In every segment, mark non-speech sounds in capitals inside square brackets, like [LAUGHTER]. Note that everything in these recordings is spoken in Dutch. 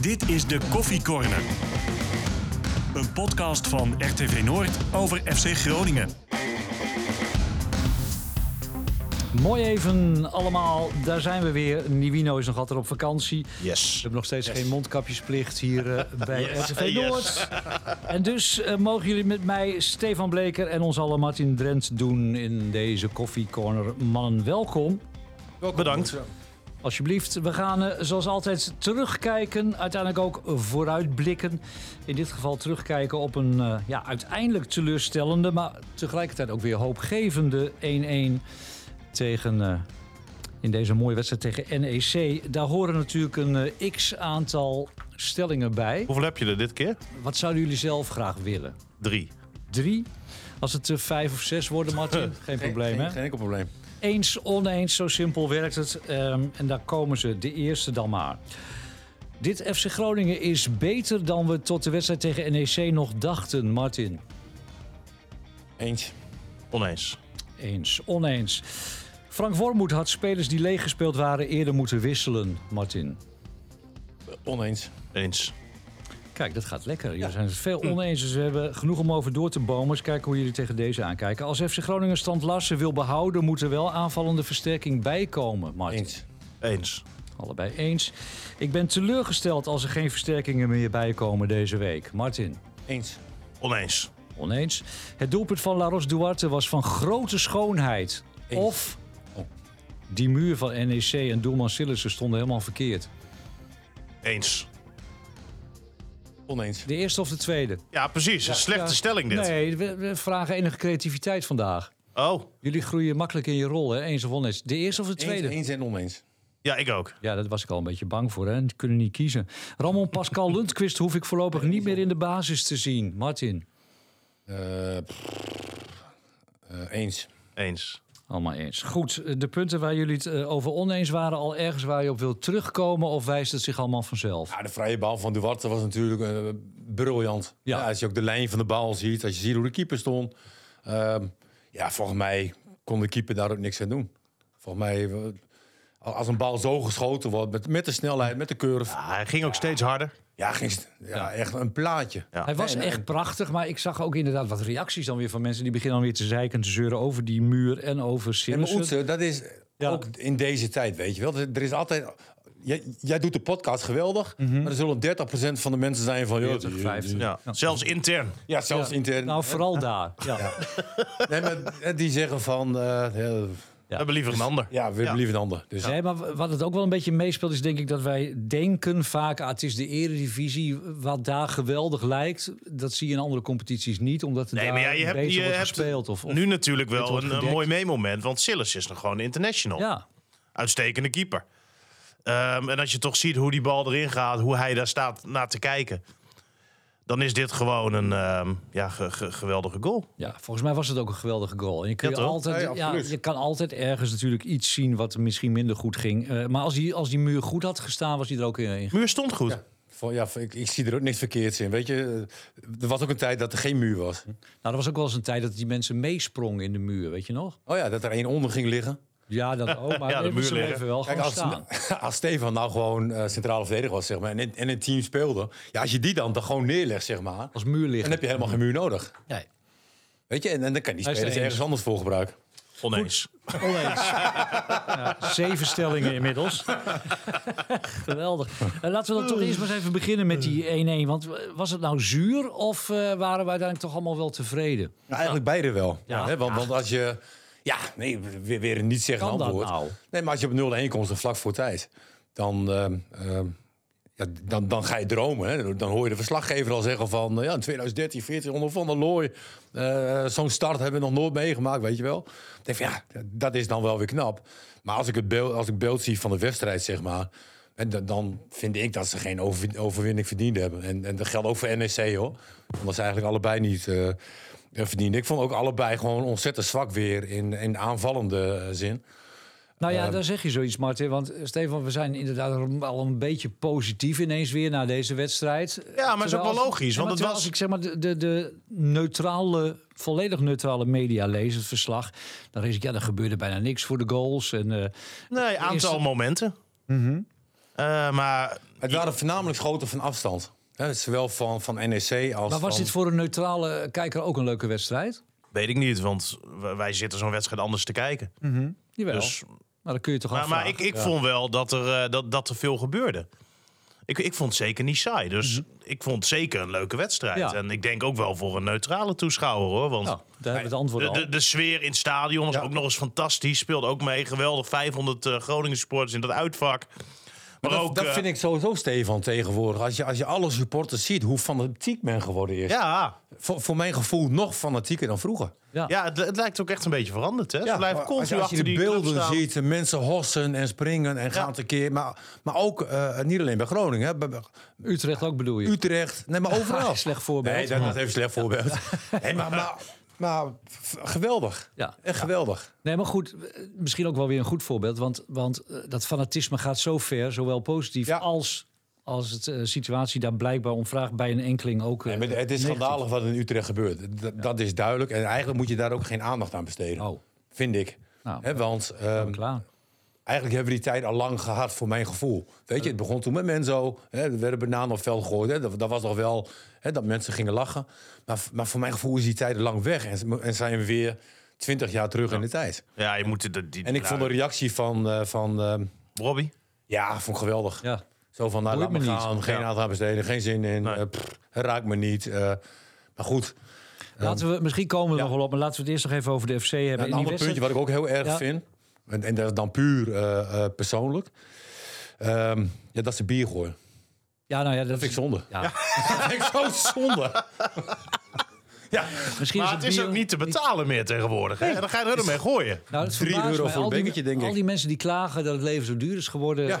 Dit is de Koffie Corner. Een podcast van RTV Noord over FC Groningen. Mooi even allemaal, daar zijn we weer. Nivino is nog altijd op vakantie. We Yes. hebben nog steeds geen mondkapjesplicht hier [LAUGHS] eh, bij RTV Yes. Noord. En dus eh, mogen jullie met mij, Stefan Bleker en ons alle Martin Drent doen in deze koffiecorner. Mannen, welkom. Bedankt. Alsjeblieft, we gaan eh, zoals altijd terugkijken, uiteindelijk ook vooruitblikken. In dit geval terugkijken op een eh, ja, uiteindelijk teleurstellende, maar tegelijkertijd ook weer hoopgevende 1-1 tegen, eh, in deze mooie wedstrijd tegen NEC. Daar horen natuurlijk een eh, x-aantal stellingen bij. Hoeveel heb je er dit keer? Wat zouden jullie zelf graag willen? Drie. Drie? Als het eh, vijf of zes worden, [LAUGHS] Martin, geen probleem hè? Geen enkel probleem. Eens, oneens, zo simpel werkt het. Ehm, en daar komen ze, de eerste dan maar. Dit FC Groningen is beter dan we tot de wedstrijd tegen NEC nog dachten, Martin. Eens. Oneens. Eens, oneens. Frank Wormoed had spelers die leeggespeeld waren eerder moeten wisselen, Martin. Oneens. Eens. Kijk, dat gaat lekker. Jullie zijn het veel oneens, dus we hebben genoeg om over door te bomen. Eens kijken hoe jullie tegen deze aankijken. Als FC Groningen stand Larsen wil behouden, moet er wel aanvallende versterking bij komen, Martin. Eens. Eens. Allebei eens. Ik ben teleurgesteld als er geen versterkingen meer bij komen deze week. Martin, Eens. Oneens. oneens. Het doelpunt van Laros Duarte was van grote schoonheid. Eens. Of Oh. die muur van NEC en doelman Sillissen stonden helemaal verkeerd. Eens. Oneens. De eerste of de tweede? Ja, precies. Een slechte Ja. stelling dit. Nee, we, we vragen enige creativiteit vandaag. Oh, Jullie groeien makkelijk in je rol, hè? eens of oneens. De eerste of de tweede? Eens, eens en oneens. ja, ik ook. Ja, daar was ik al een beetje bang voor. Hè? Die kunnen niet kiezen. Ramon [LAUGHS] Pascal Lundqvist hoef ik voorlopig niet meer in de basis te zien. Martin, Eh, pff, eh, eens. Eens. Allemaal eens. Goed, de punten waar jullie het eh, over oneens waren, al ergens waar je op wilt terugkomen, of wijst het zich allemaal vanzelf? Ja, de vrije bal van Duarte was natuurlijk eh, briljant. Ja. Ja. als je ook de lijn van de bal ziet, als je ziet hoe de keeper stond. Ehm, ja, volgens mij kon de keeper daar ook niks aan doen. Volgens mij, eh, als een bal zo geschoten wordt, met, met de snelheid, met de curve. Ah, hij ging ook steeds harder. Ja, ging, st- ja echt een plaatje. Ja. Hij was Nee, nee. echt prachtig, maar ik zag ook inderdaad wat reacties dan weer van mensen die beginnen dan weer te zeiken en te zeuren over die muur en over En maar Sillissen. Oetse, dat is Ja. ook in deze tijd, weet je wel. Er er is altijd... Jij, jij doet de podcast geweldig, Mhm. maar er zullen 30% van de mensen zijn van... joh, 40, die- 50. Ja. Zelfs intern. Ja, zelfs intern. Nou, vooral daar. Ja. Nee, maar, eh, die zeggen van... eh, ja, We hebben liever een ander. ja, we hebben liever een ander. Dus, Nee, maar wat het ook wel een beetje meespeelt is denk ik dat wij denken vaak, ah, het is de eredivisie wat daar geweldig lijkt. Dat zie je in andere competities niet, omdat het Nee, daar maar ja, je hebt, beter je wordt hebt gespeeld. Of, of- nu natuurlijk wel wordt een, een gedekt. mooi meemoment. Want Sillis is nog gewoon international. ja. Uitstekende keeper. Ehm, en als je toch ziet hoe die bal erin gaat, hoe hij daar staat naar te kijken. Dan is dit gewoon een ehm, ja, ge- ge- geweldige goal. Ja, volgens mij was het ook een geweldige goal. En je, kun Ja, je, toch? altijd, Ja, ja, ja, absoluut. je kan altijd ergens natuurlijk iets zien wat misschien minder goed ging. Eh, maar als die, als die muur goed had gestaan, was hij er ook in. in- Muur stond goed. van, ja, van, ik, ik zie er ook niks verkeerds in, weet je. Eh, Er was ook een tijd dat er geen muur was. Nou, er was ook wel eens een tijd dat die mensen meesprongen in de muur, weet je nog? Oh ja, dat er één onder ging liggen. Ja, dat [LAUGHS] ook. Maar Ja, de de muur muur liggen. even wel Kijk, gewoon als, staan. [LAUGHS] als Stefan nou gewoon eh, centrale verdediger was, zeg maar, en in, en in het team speelde... Ja, als je die dan, dan gewoon neerlegt, zeg maar... Als muur Dan liggen. heb je helemaal geen muur nodig. Nee, Weet je, en, en dan kan die Hij is spelers er eens. ergens anders voor gebruiken. Oneens. [LAUGHS] oneens. Ja, zeven stellingen inmiddels. [LAUGHS] Geweldig. Eh, laten we dan toch eerst maar eens even beginnen met die 1-1. Want eh, was het nou zuur of eh, waren we uiteindelijk toch allemaal wel tevreden? Ja, eigenlijk beide wel. Ja. Hè, want, want als je... Ja, nee, weer, weer een niet zeggen Kan dat antwoord. nou? Nee, maar als je op 0-1 komt, dan vlak voor tijd... dan, ehm, ehm, ja, dan, dan ga je dromen. Hè. Dan hoor je de verslaggever al zeggen van... eh, Ja, in 2013, 14 onder Van der Looy... eh, zo'n start hebben we nog nooit meegemaakt, weet je wel. Dan denk ik van, ja, dat is dan wel weer knap. Maar als ik het beeld, als ik beeld zie van de wedstrijd, zeg maar... En dan- dan vind ik dat ze geen overwin- overwinning verdiend hebben. En, en dat geldt ook voor NEC, hoor. Want dat ze eigenlijk allebei niet eh, eh, verdiend. Ik vond ook allebei gewoon ontzettend zwak weer in, in aanvallende eh, zin. Nou Ehm. ja, daar zeg je zoiets, Martin. Want eh, Stefan, we zijn inderdaad al een beetje positief ineens weer na deze wedstrijd. Ja, maar is ook wel als- logisch, Ja, maar want het terwijl was- Als ik zeg maar de, de, de neutrale, volledig neutrale media lees, het verslag... dan lees ik, ja, er gebeurde bijna niks voor de goals. En, eh, Nee, aantal Eerste- Mhm. momenten. Eh, maar Het waren voornamelijk schoten van afstand. Hè, zowel van, van NEC als Maar was van... dit voor een neutrale kijker ook een leuke wedstrijd? weet ik niet, want w- wij zitten zo'n wedstrijd anders te kijken. Jawel. Dus, Nou, dan kun je toch maar afvragen. maar ik, ik vond wel dat er, eh, dat, dat er veel gebeurde. Ik, ik vond het zeker niet saai. Dus Mhm. ik vond het zeker een leuke wedstrijd. Ja. En ik denk ook wel voor een neutrale toeschouwer hoor. Want Nou, daar hebben we het antwoord De, al. de, de sfeer in het stadion was ook nog eens fantastisch. Speelde ook mee. Geweldig 500 eh, Groningen supporters in dat uitvak. Maar, dat, ook, dat eh, vind ik sowieso, Stefan, tegenwoordig. Als je, als je alle supporters ziet, hoe fanatiek men geworden is. Ja, Voor, voor mijn gevoel nog fanatieker dan vroeger. Ja. ja het, het lijkt ook echt een beetje veranderd. Hè? Dus Ze Ja, blijven maar als, je- continu als je achter de die club beelden staan. ziet, eh, mensen hossen en springen en gaan tekeer. Maar, maar ook, eh, niet alleen bij Groningen, hè, bij, bij Utrecht ook bedoel je? Utrecht, nee, maar [LAUGHS] overal. Slecht voorbeeld. Nee, dat, dat heeft een slecht voorbeeld. Nee, maar, maar, maar f- geweldig. Ja. Echt geweldig. Nee, maar goed, eh, misschien ook wel weer een goed voorbeeld. Want, want eh, dat fanatisme gaat zo ver, zowel positief Ja. als, als het eh, situatie daar blijkbaar om vraagt bij een enkeling ook. eh, Nee, maar het is negatief. schandalig wat in Utrecht gebeurt. D- Dat is duidelijk. En eigenlijk moet je daar ook geen aandacht aan besteden. Oh, Vind ik. Nou, Hè, want ehm, klaar. eigenlijk hebben we die tijd al lang gehad, voor mijn gevoel. Weet je, het begon toen met Menzo. Hè, er werden bananen op het veld gegooid. Hè, dat, dat was nog wel hè, dat mensen gingen lachen. Maar, v- maar voor mijn gevoel is die tijd lang weg. En, en zijn we weer twintig jaar terug in de tijd. Ja, je moet... de- De, die, nou, En ik vond de reactie van... eh, van ehm, Robbie? ja, vond ik geweldig. Ja. Zo van, nou, Boeit laat me me niet. gaan. Geen Ja. aandacht aan besteden, geen zin in. Nee. eh, pff, raak me niet. eh, maar goed, Laten we, misschien komen we er nog wel op, maar laten we het eerst nog even over de FC hebben. In een die ander wedstrijd- puntje wat ik ook heel erg Ja. vind. En, en dat is dan puur eh, eh, persoonlijk. Ehm, ja, dat is de bier gooien. Ja, nou ja, dat, Vind ik zonde. Ja. Dat vind ik zo zonde. ja, Misschien Maar het is bier- ook niet te betalen meer tegenwoordig. Hè? Dan ga je er mee gooien. Nou, dat Drie verbaast euro mij. voor een Al die bekertje, me- denk ik. Al die mensen die klagen dat het leven zo duur is geworden, [LAUGHS] ja.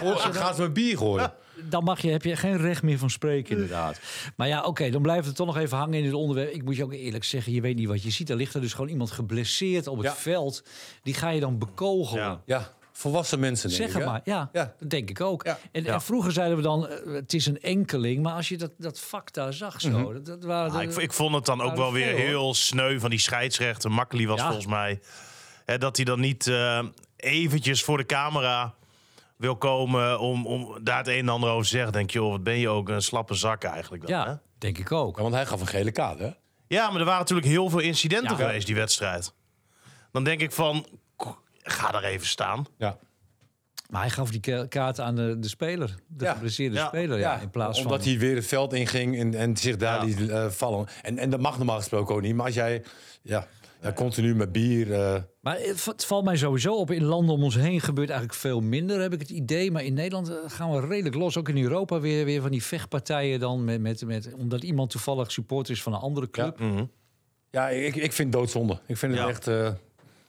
Hoor, Gaan ze mijn bier gooien? dan mag je, heb je geen recht meer van spreken, inderdaad. Maar ja, oké, dan blijft het toch nog even hangen in het onderwerp. Ik moet je ook eerlijk zeggen, je weet niet wat je ziet. Er ligt er dus gewoon iemand geblesseerd op het Ja. veld. Die ga je dan bekogelen. Ja. Ja, volwassen mensen denk Zeg ik, het hè? maar, ja, Ja. dat denk ik ook. Ja. En, Ja. en vroeger zeiden we dan, eh, het is een enkeling. Maar als je dat, dat vak daar zag zo, dat, dat waren... Ah, ik, ik vond het dan ook Ja, wel weer veel, hoor. heel sneu van die scheidsrechter. Makkely was Ja. volgens mij. Hè, dat hij dan niet eh, eventjes voor de camera wil komen om, om daar het een en ander over te zeggen. Denk je, joh, wat ben je ook een slappe zak eigenlijk dan, hè? ja, denk ik ook. Ja, want hij gaf een gele kaart, hè? Ja, maar er waren natuurlijk heel veel incidenten Ja. geweest die wedstrijd. Dan denk ik van, k- ga daar even staan. Ja. Maar hij gaf die ke- kaart aan de, de speler, de Ja. geblesseerde Ja. speler. Ja, in plaats omdat van... hij weer het veld inging en, en zich daar liet eh, vallen. En, en dat mag normaal gesproken ook niet. Maar als jij ja, ja, continu met bier... eh, Maar het va- het valt mij sowieso op. In landen om ons heen gebeurt eigenlijk veel minder, heb ik het idee. Maar in Nederland eh, gaan we redelijk los. Ook in Europa weer, weer van die vechtpartijen dan. Met, met, met, omdat iemand toevallig supporter is van een andere club. ja, ik, ik vind het doodzonde. Ik vind het Ja. echt... eh,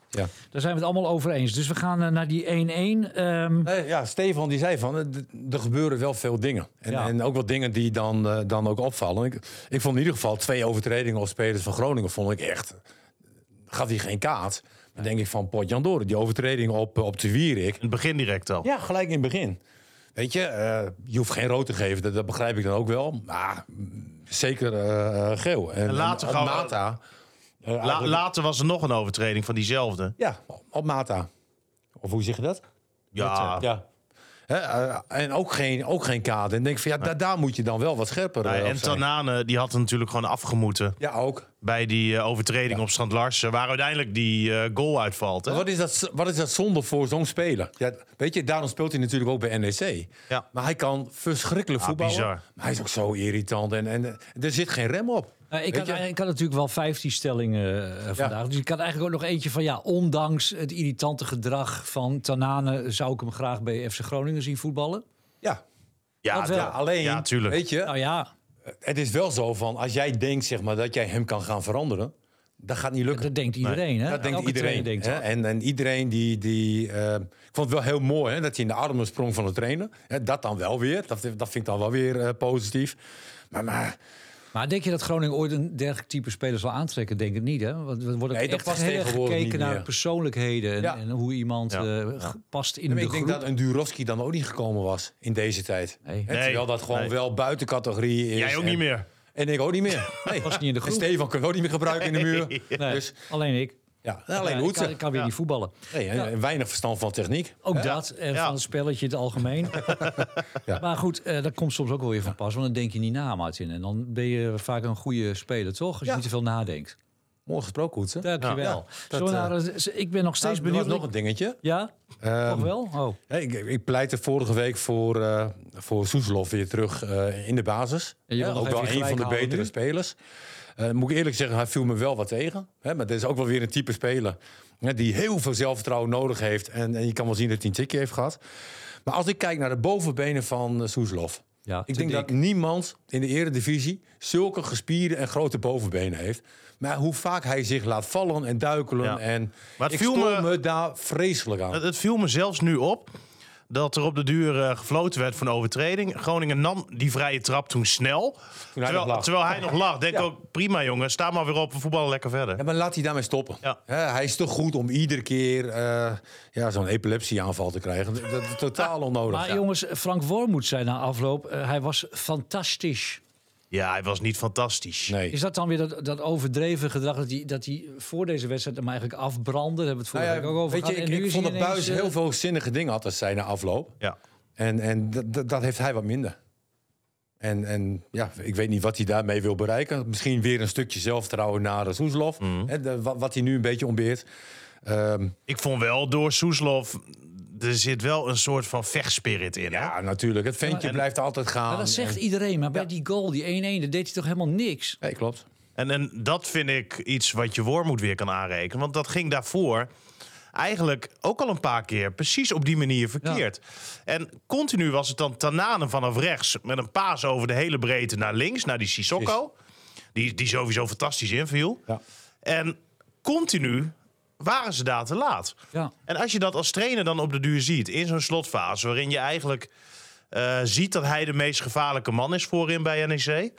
ja. Daar zijn we het allemaal over eens. Dus we gaan eh, naar die 1-1. Ehm, Nee, Eh, ja, Stefan die zei van, eh, d- er gebeuren wel veel dingen. En, Ja. en ook wat dingen die dan, eh, dan ook opvallen. Ik, ik vond in ieder geval twee overtredingen op spelers van Groningen vond ik echt... Gaf hij geen kaart. Dan denk ik van, pot Jan Doren, die overtreding op, eh, op de Wierik. In het begin direct al. Ja, gelijk in het begin. Weet je, eh, je hoeft geen rood te geven, dat, dat begrijp ik dan ook wel. Maar mm, zeker eh, eh, geel. En, En later en op gaan we- Mata. eh, La- eigenlijk- later was er nog een overtreding van diezelfde. ja, op Mata. Of hoe zeg je dat? Ja, Ja. Hè, eh, en ook geen, ook geen kader. En denk ik van ja, da- daar moet je dan wel wat scherper Nou, eh, op en zijn. Tanane die had hem natuurlijk gewoon afgemoeten Ja, ook. bij die eh, overtreding op Strand Larsen. Waar uiteindelijk die eh, goal uitvalt. Hè? Wat is, dat, wat is dat zonde voor zo'n speler? Ja, weet je, daarom speelt hij natuurlijk ook bij NEC. Ja. Maar hij kan verschrikkelijk Ah, voetballen. bizar. Maar hij is ook zo irritant. En, en eh, er zit geen rem op. nou, ik, Weet had, je? ik had natuurlijk wel 15 stellingen eh, vandaag. Dus ik had eigenlijk ook nog eentje van ja, ondanks het irritante gedrag van Tanane zou ik hem graag bij FC Groningen zien voetballen. Ja, Ja, Dat wel. ja, alleen, Ja, tuurlijk. weet je, Nou ja, het is wel zo van... als jij denkt zeg maar, dat jij hem kan gaan veranderen... dat gaat niet lukken. dat denkt iedereen. hè? Dat denkt Elke trainer iedereen. denkt hè? dat. En, en iedereen die. die eh, ik vond het wel heel mooi hè, dat hij in de armen sprong van de trainer. Hè, dat dan wel weer. Dat, dat vind ik dan wel weer eh, positief. Maar, maar Maar denk je dat Groningen ooit een dergelijk type speler zal aantrekken? Denk het niet, hè? Want er wordt ook Nee, dat echt past heel erg tegenwoordig gekeken niet naar meer. persoonlijkheden en, Ja. en hoe iemand Ja. eh, g- past in de ik denk groep. dat een Durovski dan ook niet gekomen was in deze tijd. Nee. Hè, terwijl dat gewoon Nee. wel buiten categorie is. Jij ook en, niet meer. En ik ook niet meer. [LAUGHS] Nee. Past niet in de En groep. Stefan kunnen we ook niet meer gebruiken in de muur. Nee, Dus alleen ik. Ja, alleen ik kan, hoedsen. ik kan weer Ja. niet voetballen. Nee, en- en weinig verstand van techniek. Ook dat, en Ja. van het spelletje in het algemeen. [LAUGHS] Ja. Maar goed, eh, dat komt soms ook wel weer van pas. Want dan denk je niet na, Martin. En dan ben je vaak een goede speler, toch? Als je Ja. niet te veel nadenkt. Mooi gesproken, hoedsen. Dankjewel. Ja, dat, eh, Zo naar, eh, ik ben nog steeds Nou, er was benieuwd. nog een dingetje. Ja? Ehm, nog wel? Oh. Ja, ik, ik pleitte vorige week voor, eh voor Soeslof weer terug eh, in de basis. En je wil Ja, nog ook wel even een van de gelijk houden betere nu? spelers. Eh, moet ik eerlijk zeggen, hij viel me wel wat tegen. Hè, maar dit is ook wel weer een type speler hè, die heel veel zelfvertrouwen nodig heeft. En, en je kan wel zien dat hij een tikje heeft gehad. Maar als ik kijk naar de bovenbenen van eh, Soeslof. Ja, ik te denk dat dik. niemand in de eredivisie zulke gespierde en grote bovenbenen heeft. Maar hoe vaak hij zich laat vallen en duikelen. Ja. En Maar het ik viel me- stoor me... daar vreselijk aan. Het, het viel me zelfs nu op dat er op de duur eh, gefloten werd voor een overtreding. Groningen nam die vrije trap toen snel. nog terwijl, lag. terwijl hij nog lag. Denk ook, prima jongen, sta maar weer op, we voetballen lekker verder. Ja, maar laat hij daarmee stoppen. Ja. Hè, hij is toch goed om iedere keer eh, ja, zo'n epilepsieaanval te krijgen. Dat, dat is totaal onnodig. Maar Ja. jongens, Frank Wormoed zei na afloop, eh, hij was fantastisch. Ja, hij was niet fantastisch. Nee. Is dat dan weer dat, dat overdreven gedrag dat hij, dat hij voor deze wedstrijd hem eigenlijk afbrandde? Daar hebben we het Nou vorige ja, week ook over weet je, gehad. ik, En nu ik is vond hij dat ineens, Buis eh, heel veel zinnige dingen had als zij na afloop. Ja. En, en dat, dat, dat heeft hij wat minder. En, en ja, ik weet niet wat hij daarmee wil bereiken. Misschien weer een stukje zelfvertrouwen naar eh, Soeslof. Mhm. Hè, de- wat, wat hij nu een beetje ontbeert. Ehm, Ik vond wel door Soeslof, er zit wel een soort van vechtspirit in. hè? ja, natuurlijk. Het ventje en- blijft altijd gaan. Maar dat zegt En- iedereen, maar bij die goal, die 1-1, daar deed hij toch helemaal niks? Nee, klopt. En, en dat vind ik iets wat je Wormoed weer kan aanrekenen. Want dat ging daarvoor eigenlijk ook al een paar keer precies op die manier verkeerd. En continu was het dan Tanane vanaf rechts met een paas over de hele breedte naar links, naar die Sissoko. Die, die sowieso fantastisch inviel. Ja. En continu waren ze daar te laat. Nou Ja. En als je dat als trainer dan op de duur ziet in zo'n slotfase, waarin je eigenlijk eh, ziet dat hij de meest gevaarlijke man is voorin bij NEC.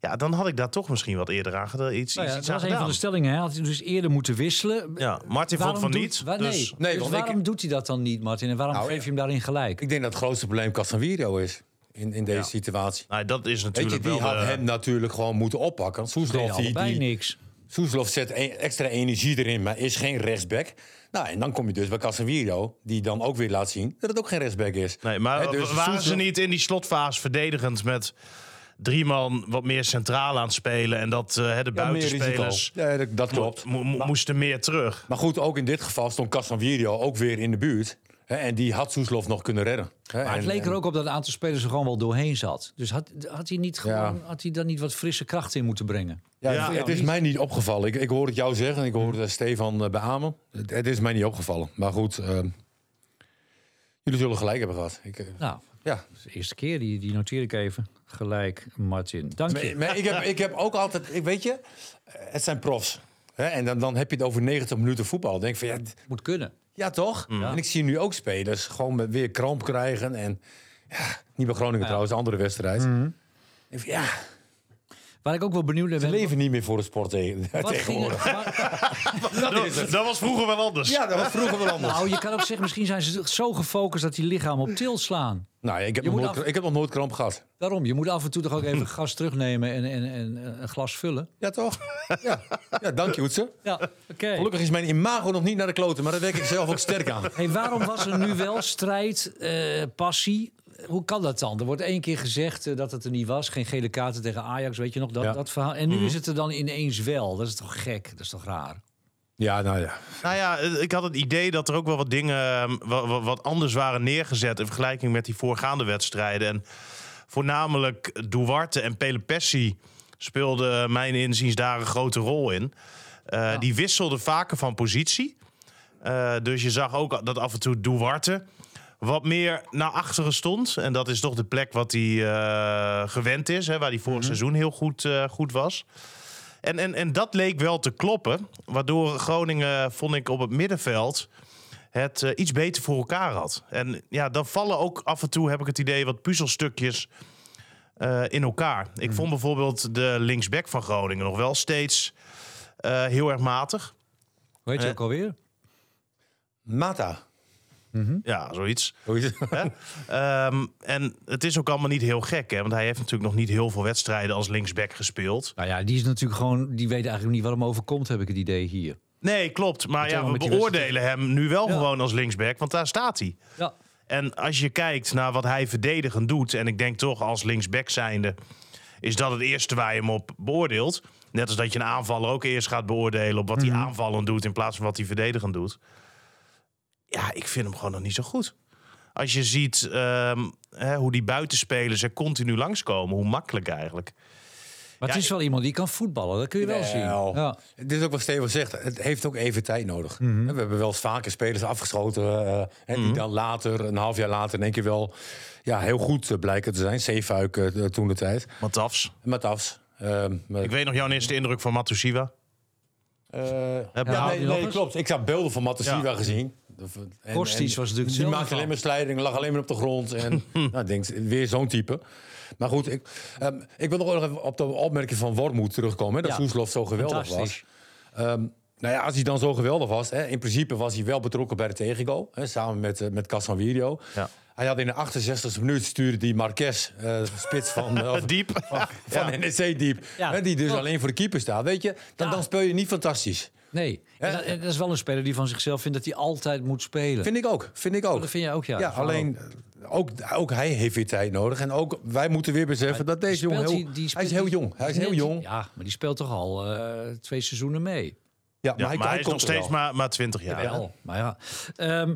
Ja, dan had ik daar toch misschien wat eerder aan gedaan. Iets, Nou ja, iets, dat was een iets aan van gedaan. de stellingen. Hij had hij dus eerder moeten wisselen. Ja, Martin vond van doet- niet. wa- nee, dus, Nee, Dus want ik- waarom doet hij dat dan niet, Martin? En waarom Nou, geef je hem daarin gelijk? Ik denk dat het grootste probleem Casemiro is in, in deze Ja. situatie. nou, dat is Weet je, natuurlijk die wel... eh, had de- hem natuurlijk gewoon moeten oppakken. Nee, Soeslof, die, allebei die, niks. Soeslof zet e- extra energie erin, maar is geen rechtsback. Nou, en dan kom je dus bij Casemiro, die dan ook weer laat zien dat het ook geen rechtsback is. Nee, maar Hè, dus waren ze Soeslof- niet in die slotfase verdedigend met drie man wat meer centraal aan het spelen... en dat eh, de Ja, meer buitenspelers risico. Ja, dat, dat klopt. mo- mo- moesten meer terug? Maar goed, ook in dit geval stond Casemiro ook weer in de buurt. Hè, en die had Soeslof nog kunnen redden. Hè, Maar het en- leek er ook op dat een aantal spelers er gewoon wel doorheen zat. Dus had, had, hij, niet Ja. gewoon, had hij daar niet wat frisse kracht in moeten brengen? Ja, Ja. het is mij niet opgevallen. Ik, ik hoor het jou zeggen, ik hoor het eh, Stefan eh, beamen. Het, het is mij niet opgevallen. Maar goed, ehm, jullie zullen gelijk hebben gehad. Ik, eh, Nou, ja. dat is de eerste keer, die, die noteer ik even. Gelijk, Martin. Dank je. Maar, maar ik, heb, ik heb ook altijd, ik weet je, eh, het zijn profs. Hè? En dan, dan heb je het over 90 minuten voetbal. Dan denk ik van ja, d- Moet kunnen. ja toch? En ik zie nu ook spelers gewoon met weer kramp krijgen. En ja, niet bij Groningen trouwens, een andere wedstrijd. Ik vind, ja, Waar ik ook wel benieuwd naar ze ben... leven niet meer voor de sport tegen, wat ging [LAUGHS] [LAUGHS] tegenwoordig. er- waar- Dat, dat was vroeger wel anders. Ja, dat was vroeger wel [LAUGHS] anders. nou, je kan ook zeggen, misschien zijn ze zo gefocust dat die lichaam op til slaan. Nou, ja, ik, heb Je nog moet nooit, af- ik heb nog nooit kramp gehad. Daarom, je moet af en toe toch ook [LAUGHS] even gas terugnemen en, en, en eh, een glas vullen. Ja, toch? ja. ja, dank je, Hoetse. Ja, oké. Gelukkig is mijn imago nog niet naar de kloten, maar daar werk ik zelf ook sterk aan. Hey, waarom was er nu wel strijd, eh, passie? Hoe kan dat dan? Er wordt één keer gezegd eh, dat het er niet was. Geen gele kaarten tegen Ajax, weet je nog, dat, Ja. dat verhaal. En nu is het er dan ineens wel. Dat is toch gek? Dat is toch raar? Ja, nou ja. Nou ja, eh, ik had het idee dat er ook wel wat dingen eh, wa- wa- wat anders waren neergezet in vergelijking met die voorgaande wedstrijden. En voornamelijk Duarte en Pelepessi speelden eh, mijn inziens daar een grote rol in. Eh, Die wisselden vaker van positie. Eh, dus je zag ook dat af en toe Duarte wat meer naar achteren stond. En dat is toch de plek wat hij eh, gewend is, hè, waar hij vorig seizoen heel goed, eh, goed was. En, en, en dat leek wel te kloppen. Waardoor Groningen, vond ik, op het middenveld het eh, iets beter voor elkaar had. En ja, dan vallen ook af en toe, heb ik het idee, wat puzzelstukjes eh, in elkaar. Ik Mhm. vond bijvoorbeeld de linksback van Groningen nog wel steeds eh, heel erg matig. Weet je Eh. ook alweer? Mata. Mhm. Ja, [LAUGHS] zoiets. Hoe is het? Hè? Ehm, en het is ook allemaal niet heel gek, hè? want hij heeft natuurlijk nog niet heel veel wedstrijden als linksback gespeeld. Nou ja, die is natuurlijk gewoon... Die weet eigenlijk niet wat hem overkomt, heb ik het idee hier. Nee, klopt. Maar ja, helemaal we met die beoordelen hem nu wel Ja. gewoon als linksback, want daar staat hij. Ja. En als je kijkt naar wat hij verdedigend doet, en ik denk toch als linksback zijnde, is dat het eerste waar je hem op beoordeelt. Net als dat je een aanvaller ook eerst gaat beoordelen op wat hij aanvallend doet in plaats van wat hij verdedigend doet. Ja, ik vind hem gewoon nog niet zo goed. Als je ziet ehm, hè, hoe die buitenspelers er continu langskomen, hoe makkelijk eigenlijk. Maar het Ja, is wel iemand die kan voetballen, dat kun je wel zien. Wel. Ja. Dit is ook wat Steven zegt. Het heeft ook even tijd nodig. We hebben wel eens vaker spelers afgeschoten. eh, hè, Die dan later, een half jaar later, in één keer wel ja, heel goed eh, blijken te zijn. Zeefuik toen de tijd. Matafs. Matafs. ehm, met- Ik weet nog jouw eerste indruk van Matusiwa. eh, Heb je- ja, nee, die nog nee, eens? klopt. Ik heb beelden van Matasiva Ja. gezien. En- en- Kostic was natuurlijk Die hetzelfde maakte verhaal. alleen maar slijdingen, lag alleen maar op de [LAUGHS] grond. En nou, ik denk, weer zo'n type. Maar goed, ik, ehm, ik wil nog wel even op de opmerking van Wormoed terugkomen. Hè, dat Ja. Soeslof zo geweldig was. Fantastisch. Ehm, nou ja, als hij dan zo geweldig was, hè, in principe was hij wel betrokken bij de tegengoal, hè, samen met, eh, met Casanvirio. Ja. Hij had in de 68e minuut stuurde die Marquez, eh, spits [LAUGHS] van, eh, Diep. van NEC diep, Ja. hè, die dus Klopt. alleen voor de keeper staat. Weet je, dan, Ja. dan speel je niet fantastisch. Nee, en dat, en dat is wel een speler die van zichzelf vindt dat hij altijd moet spelen. Vind ik ook, vind ik ook. dat vind jij ook, ja. Ja, Van alleen eh, ook, ook hij heeft weer tijd nodig. En ook wij moeten weer beseffen dat deze Speelt jongen heel, die- die hij is speelt- heel die- jong. Hij is net- heel jong. Ja, Ja, maar die speelt toch al eh, twee seizoenen mee. maar Ja, hij, maar hij is komt nog er steeds wel. maar, maar 20 Nou jaar. Ja. Maar ja, Ehm,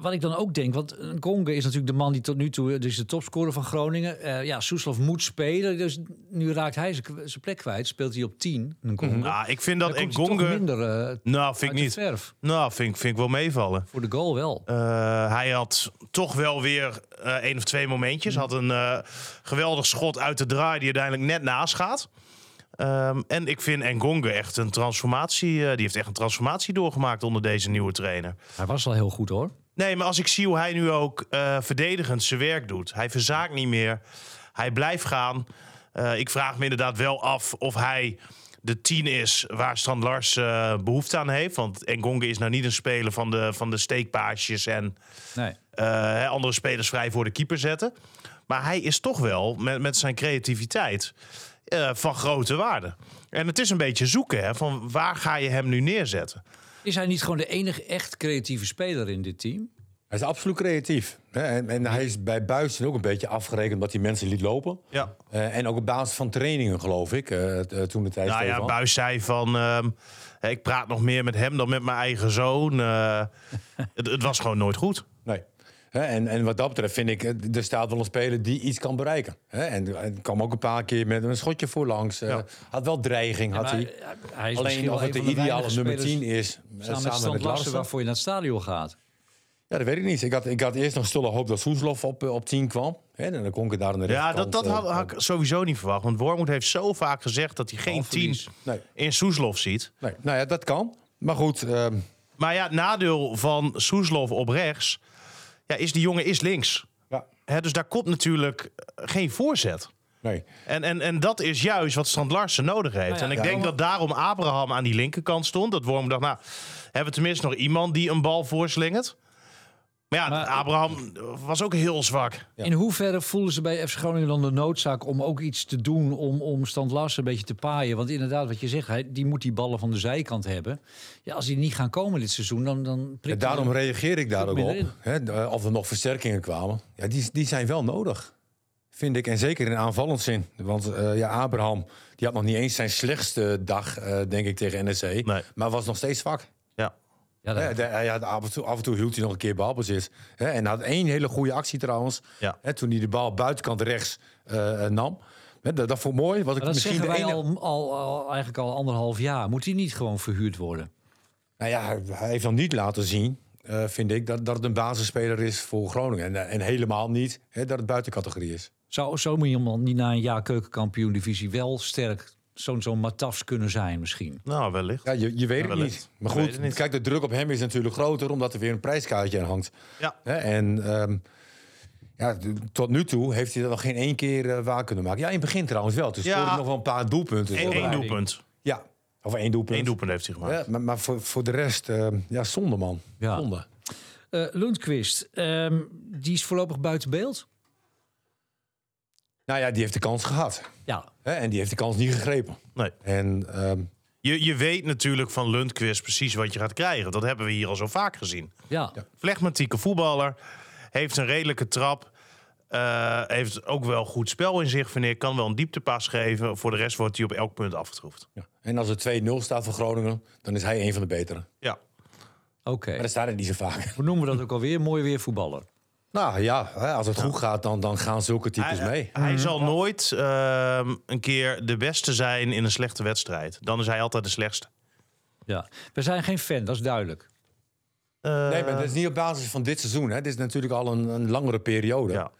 wat ik dan ook denk, want Gonge is natuurlijk de man die tot nu toe eh, dus de topscorer van Groningen. Eh, ja, Soeslof moet spelen, dus nu raakt hij zijn k- zijn plek kwijt. Speelt hij op 10, Ngonge. Mm-hmm. Nou, ik vind dat Dan komt hij Engonge- toch minder eh, Nou, uit vind ik de niet. verf. Nou, vind, ik- vind ik wel meevallen. Voor de goal wel. Eh, hij had toch wel weer eh één of twee momentjes. Had een eh, geweldig schot uit de draai die uiteindelijk net naast gaat. Ehm, en ik vind Engonge echt een transformatie. eh, die heeft echt een transformatie doorgemaakt onder deze nieuwe trainer. Hij was al heel goed hoor. Nee, maar als ik zie hoe hij nu ook eh, verdedigend zijn werk doet. Hij verzaakt niet meer. Hij blijft gaan. Eh, ik vraag me inderdaad wel af of hij de tien is waar Strand Lars eh, behoefte aan heeft. Want Engonge is nou niet een speler van de, van de steekpaasjes en Nee. eh, hè, andere spelers vrij voor de keeper zetten. Maar hij is toch wel met, met zijn creativiteit eh, van grote waarde. En het is een beetje zoeken hè, van waar ga je hem nu neerzetten. Is hij niet gewoon de enige echt creatieve speler in dit team? Hij is absoluut creatief. hè. En, en hij is bij Buis ook een beetje afgerekend wat die mensen liet lopen. Ja. Eh, en ook op basis van trainingen, geloof ik, eh, t- eh, toen de tijd. Nou ja, Stefan. Buis zei van... ehm, hè, ik praat nog meer met hem dan met mijn eigen zoon. Eh, [LAUGHS] het, het was gewoon nooit goed. Nee. Hè, en, en wat dat betreft vind ik, eh, er staat wel een speler die iets kan bereiken. Hè, en, en kwam ook een paar keer met een schotje voorlangs. eh, Ja. Had wel dreiging, had Maar eh, hij. hij is misschien Alleen wel of het een de van ideale weinige nummer 10 spelers is, eh, Samen met Stant Larsen, Larsen. waarvoor je naar het stadion gaat. Ja, dat weet ik niet. Ik had, ik had eerst nog stille hoop dat Soeslof op, eh, op 10 kwam. Hè, en dan kon ik het daar aan de Ja, dat, rechterkant, dat eh, had, had ik sowieso niet verwacht. Want Wormoed heeft zo vaak gezegd dat hij geen tien Balverlies. Nee. in Soeslof ziet. Nee, nou ja, dat kan. Maar goed, ehm, Maar ja, het nadeel van Soeslof op rechts... Ja, is die jongen is links. ja, Hè, dus daar komt natuurlijk eh, geen voorzet. nee. En, en, en dat is juist wat Strand Larsen nodig heeft. Nou ja, en ik ja, denk maar- dat daarom Abraham aan die linkerkant stond. Dat Worm dacht, nou, hebben we tenminste nog iemand die een bal voorslingert? Maar ja, Maar- Abraham was ook heel zwak. In hoeverre voelen ze bij FC Groningen dan de noodzaak om ook iets te doen om, om Stant Larsen een beetje te paaien? Want inderdaad, wat je zegt, hij, die moet die ballen van de zijkant hebben. Ja, als die niet gaan komen dit seizoen, dan, dan En prikt hij daarom reageer ik daar ook minder op. in. Hè, d- eh, of er nog versterkingen kwamen. Ja, die, die zijn wel nodig. Vind ik. En zeker in aanvallend zin. Want eh, ja, Abraham die had nog niet eens zijn slechtste dag, eh, denk ik, tegen NEC. Maar was nog steeds zwak. Ja. Ja, Hè, dat- de- hij had af, en toe, af en toe hield hij nog een keer balbezit. Hè, en had één hele goede actie trouwens. Ja. Hè, toen hij de bal buitenkant rechts eh, eh, nam. Hè, dat, dat vond ik mooi. Wat ik maar dat misschien zeggen de wij ene... al, al, al- eigenlijk al anderhalf jaar. Moet hij niet gewoon verhuurd worden? Nou ja, hij- hij heeft nog niet laten zien, eh, vind ik, dat, dat het een basisspeler is voor Groningen. En, eh, en helemaal niet hè, dat het buitencategorie is. Zou zo iemand niet na een jaar keukenkampioen divisie wel sterk zo'n zo'n matafs kunnen zijn misschien? Nou, wellicht. Ja, je, je weet het wellicht. niet. Maar We goed, weten het niet. kijk, de druk op hem is natuurlijk groter, omdat er weer een prijskaartje aan hangt. Ja. Hè, en ehm, ja, d- tot nu toe heeft hij dat nog geen één keer eh, waar kunnen maken. Ja, in het begin trouwens wel. Toen Ja. scoorde hij nog wel een paar doelpunten. Eén één voorbereiding. doelpunt. Ja, of één doelpunt. Eén doelpunt heeft hij gemaakt. Ja, maar maar voor, voor de rest, ehm, ja, zonde man. Ja. Zonde. Eh Lundqvist, ehm, die is voorlopig buiten beeld. Nou ja, die heeft de kans gehad. Ja, Hè, en die heeft de kans niet gegrepen. Nee. En ehm, Je, je weet natuurlijk van Lundqvist precies wat je gaat krijgen. Dat hebben we hier al zo vaak gezien. Ja. Flegmatieke voetballer. Heeft een redelijke trap. eh, heeft ook wel goed spel in zich, vind ik. Kan wel een dieptepas geven. Voor de rest wordt hij op elk punt afgetroefd. Ja. En als het 2-0 staat voor Groningen, dan is hij een van de betere. Maar Ja. Oké. dat staat er niet zo vaak. [LAUGHS] Hoe noemen we dat ook alweer? Mooi weer voetballer. Nou ja, hè, als het goed gaat, dan, dan gaan zulke types hij, mee. hij zal nooit ehm, een keer de beste zijn in een slechte wedstrijd. Dan is hij altijd de slechtste. Ja. We zijn geen fan, dat is duidelijk. Eh, Nee, maar dat is niet op basis van dit seizoen. Hè. Dit is natuurlijk al een, een langere periode. Ja.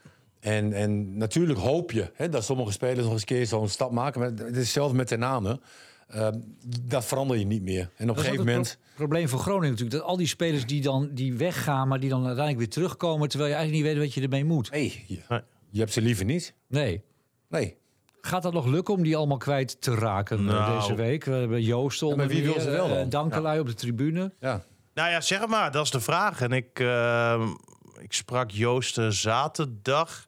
En, en natuurlijk hoop je hè, dat sommige spelers nog eens een keer zo'n stap maken. Maar het is zelfs met de namen. eh, dat verander je niet meer. En op een Dat is gegeven ook het moment... pro- probleem voor Groningen natuurlijk. Dat al die spelers die dan die weggaan, maar die dan uiteindelijk weer terugkomen... terwijl je eigenlijk niet weet wat je ermee moet. Nee, je, Nee. je hebt ze liever niet. Nee. Nee. Gaat dat nog lukken om die allemaal kwijt te raken eh, Nou. deze week? We hebben Joost onder wie wil meer, ze wel eh, dan? Dankelui op de tribune. Ja. Nou ja, zeg het maar, dat is de vraag. En ik, ehm, ik sprak Joost eh, zaterdag.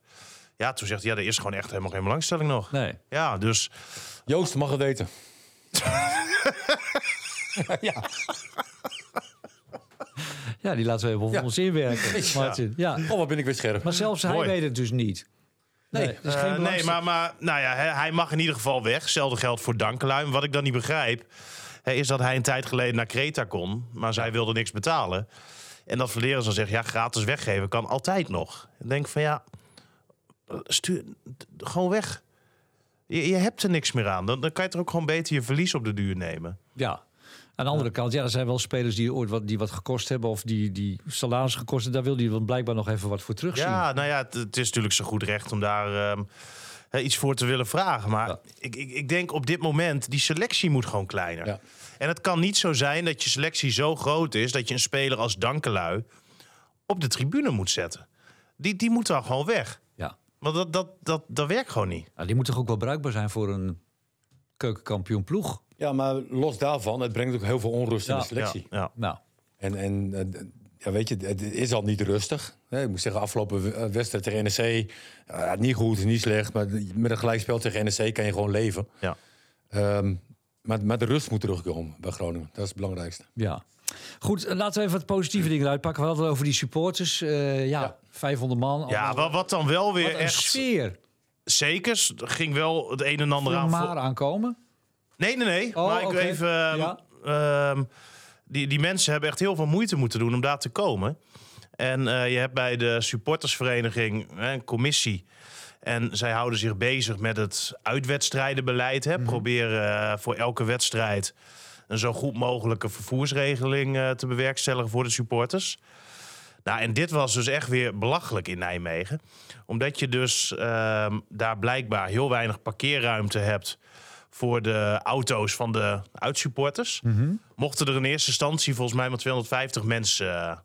Ja, toen zegt hij, ja, er is gewoon echt helemaal geen belangstelling nog. Nee. Ja, dus Joost mag het weten. Ja, die laten we even op Ja. ons inwerken, [LAUGHS] Ja. Martin. Ja. Oh, wat ben ik weer scherp. Maar zelfs hij Mooi. weet het dus niet. Nee, het is Eh, geen nee, maar, maar nou ja, hij, hij mag in ieder geval weg. Hetzelfde geldt voor Dankelui. Maar Wat ik dan niet begrijp, hè, is dat hij een tijd geleden naar Kreta kon. Maar zij wilde niks betalen. En dat Vlederis dan zegt, ja, gratis weggeven kan altijd nog. Ik denk van, ja, stuur d- gewoon weg. Je, je hebt er niks meer aan. Dan, dan kan je er ook gewoon beter je verlies op de duur nemen. Ja. Aan de andere kant, ja, er zijn wel spelers die ooit wat, die wat gekost hebben of die, die salaris gekost hebben. Daar wil hij dan blijkbaar nog even wat voor terugzien. Ja, nou ja, het, het is natuurlijk zijn goed recht om daar ehm, hè, iets voor te willen vragen. Maar Ja. ik, ik, ik denk op dit moment, die selectie moet gewoon kleiner. Ja. En het kan niet zo zijn dat je selectie zo groot is... dat je een speler als Dankelui op de tribune moet zetten. Die, die moet dan gewoon weg. Ja. Want dat, dat, dat, dat werkt gewoon niet. Nou, die moet toch ook wel bruikbaar zijn voor een keukenkampioen ploeg? Ja, maar los daarvan, het brengt ook heel veel onrust in Ja. de selectie. Ja, ja. Nou, En, en eh, d- ja, weet je, het is al niet rustig. Hè, Ik moet zeggen, afgelopen w- eh, wedstrijd tegen NEC, eh, niet goed, niet slecht. Maar met een gelijkspel tegen NEC kan je gewoon leven. ja. Ehm, maar, maar de rust moet terugkomen bij Groningen. Dat is het belangrijkste. ja. Goed, eh, laten we even wat positieve dingen uitpakken. We hadden het over die supporters. Eh, ja, 500 man. ja Allemaal- wat, wat dan wel weer wat een echt... sfeer. Zeker ging wel het een en ander Voor aan... voor- maar aankomen. Nee, nee, nee. Oh, maar ik oké. wil even. ehm, Ja. ehm, die, die mensen hebben echt heel veel moeite moeten doen om daar te komen. En eh, je hebt bij de supportersvereniging hè, een commissie. En zij houden zich bezig met het uitwedstrijdenbeleid. Mhm. Hè. Proberen eh, voor elke wedstrijd een zo goed mogelijke vervoersregeling eh, te bewerkstelligen voor de supporters. Nou, en dit was dus echt weer belachelijk in Nijmegen. Omdat je dus ehm, daar blijkbaar heel weinig parkeerruimte hebt voor de auto's van de uitsupporters. Mochten er in eerste instantie volgens mij maar 250 mensen eh,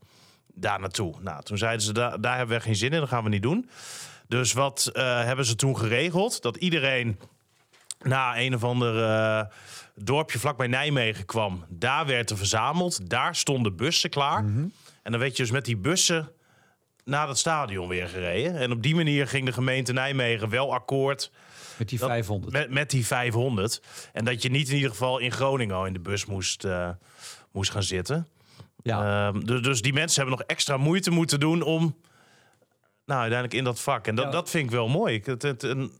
daar naartoe. Nou, toen zeiden ze, "Da- daar hebben we geen zin in, dat gaan we niet doen. Dus wat eh, hebben ze toen geregeld? Dat iedereen na een of ander eh, dorpje vlakbij Nijmegen kwam. Daar werd er verzameld. Daar stonden bussen klaar. En dan werd je dus met die bussen naar het stadion weer gereden. En op die manier ging de gemeente Nijmegen wel akkoord Met die dat- 500. Met, met die 500. En dat je niet in ieder geval in Groningen al in de bus moest, eh, moest gaan zitten. ja. Ehm, dus, dus die mensen hebben nog extra moeite moeten doen om. Nou, uiteindelijk in dat vak. En dat, Ja. dat vind ik wel mooi. Ik, het, het- een,